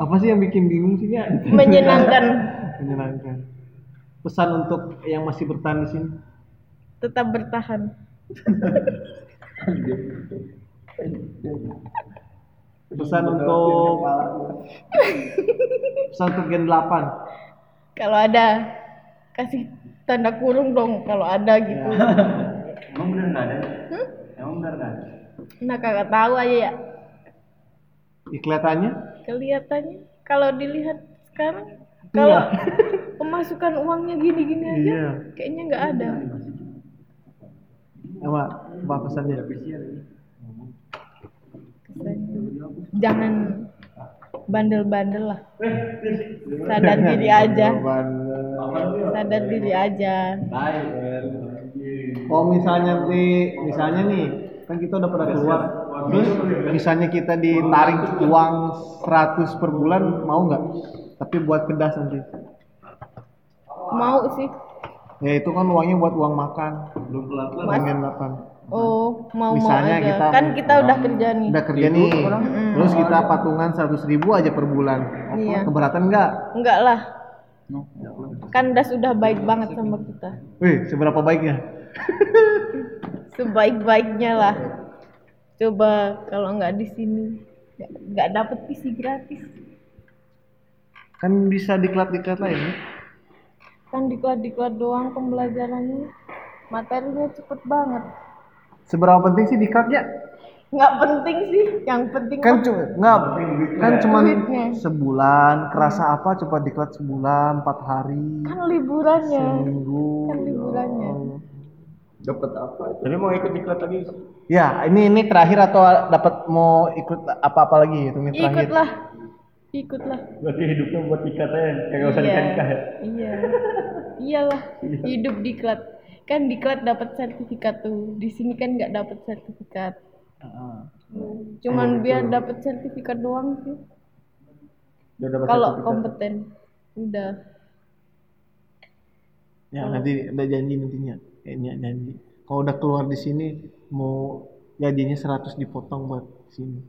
apa sih yang bikin bingung sih ya
menyenangkan
menyenangkan pesan untuk yang masih bertahan di sini
tetap bertahan
pesan untuk pesan untuk gen 8
kalau ada kasih tanda kurung dong kalau ada gitu Hmm?
Emang benar nggak ada? Emang benar nggak ada?
nah kakak tahu aja ya
Ya, kelihatannya
kelihatannya kalau dilihat sekarang kalau pemasukan uangnya gini-gini aja
Iya.
kayaknya nggak ada
apa apa pesannya
ya.
Kesannya. jangan bandel-bandel lah sadar diri aja
eh,
sadar diri aja
Oh, Kalau misalnya nih, misalnya nih, kan kita udah pada keluar. Terus misalnya kita ditarik uang 100 per bulan mau nggak? Tapi buat pedas nanti.
mau sih
Ya itu kan uangnya buat uang makan.
belum pelakuan
Mas.
Pengen makan.
oh mau mau
Misalnya
aja
kita-
kan kita udah kerja nih
Udah kerja nih. Terus kita patungan 100 ribu aja per bulan.
Iya.
Keberatan nggak?
enggak lah kan Das udah baik banget sama kita
Wih, seberapa baiknya?
sebaik-baiknya lah coba kalau nggak di sini nggak- nggak dapet PC gratis
Kan bisa diklat-diklat lain. ya?
kan diklat-diklat doang pembelajarannya materinya cepet banget
Seberapa penting sih ya? diklatnya?
nggak penting sih yang penting
Kan cuma nggak, kan cuma
Iya. Duitnya.
sebulan. Kerasa apa? Coba diklat sebulan, empat hari, ya
kan liburannya
minggu.
kan liburannya
dapat apa
Tapi mau ikut ikut lagi.
Ya, ini ini terakhir atau dapat mau ikut apa-apa lagi? Itu ini terakhir.
ikutlah ikutlah
Berarti hidupnya buat ikatan, kagak usah Iya.
iya
nikah ya.
iya iyalah hidup diklat kan diklat dapat sertifikat tuh di sini kan nggak dapat sertifikat
Ah,
Iya,
cuman biar dapat sertifikat doang sih
Udah dapat
kalau
sertifikat.
kompeten udah
Ya nanti ada janji nantinya. Ini janji. Kalau udah keluar di sini mau gajinya 100 dipotong buat sini.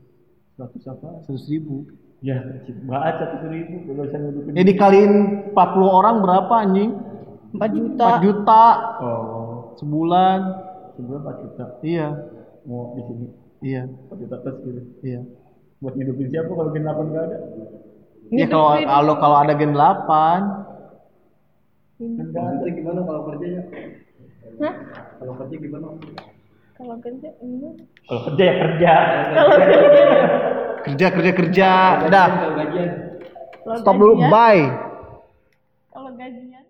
100 apa?
100 ribu.
Ya, bahas satu ribu kalau saya ngidupin.
Ya dikaliin 40 orang berapa anjing?
4 juta
4 juta
Oh,
sebulan.
sebulan 4 juta
Iya.
mau di sini.
Iya.
4 juta plus gitu.
Iya.
Buat ngidupin siapa kalau gen 8 nggak ada?
Ya kalau kalau kalau ada gen 8
Maksudnya gimana kalau kerjanya
Hah?
kalau kerja gimana
kalau kerja gimana?
Kalau kerja ya kerja.
kalau kerja
kerja kerja kerja. Udah.
kalau gajian
kalau
Stop dulu.
gajian-
Bye.
kalau gajian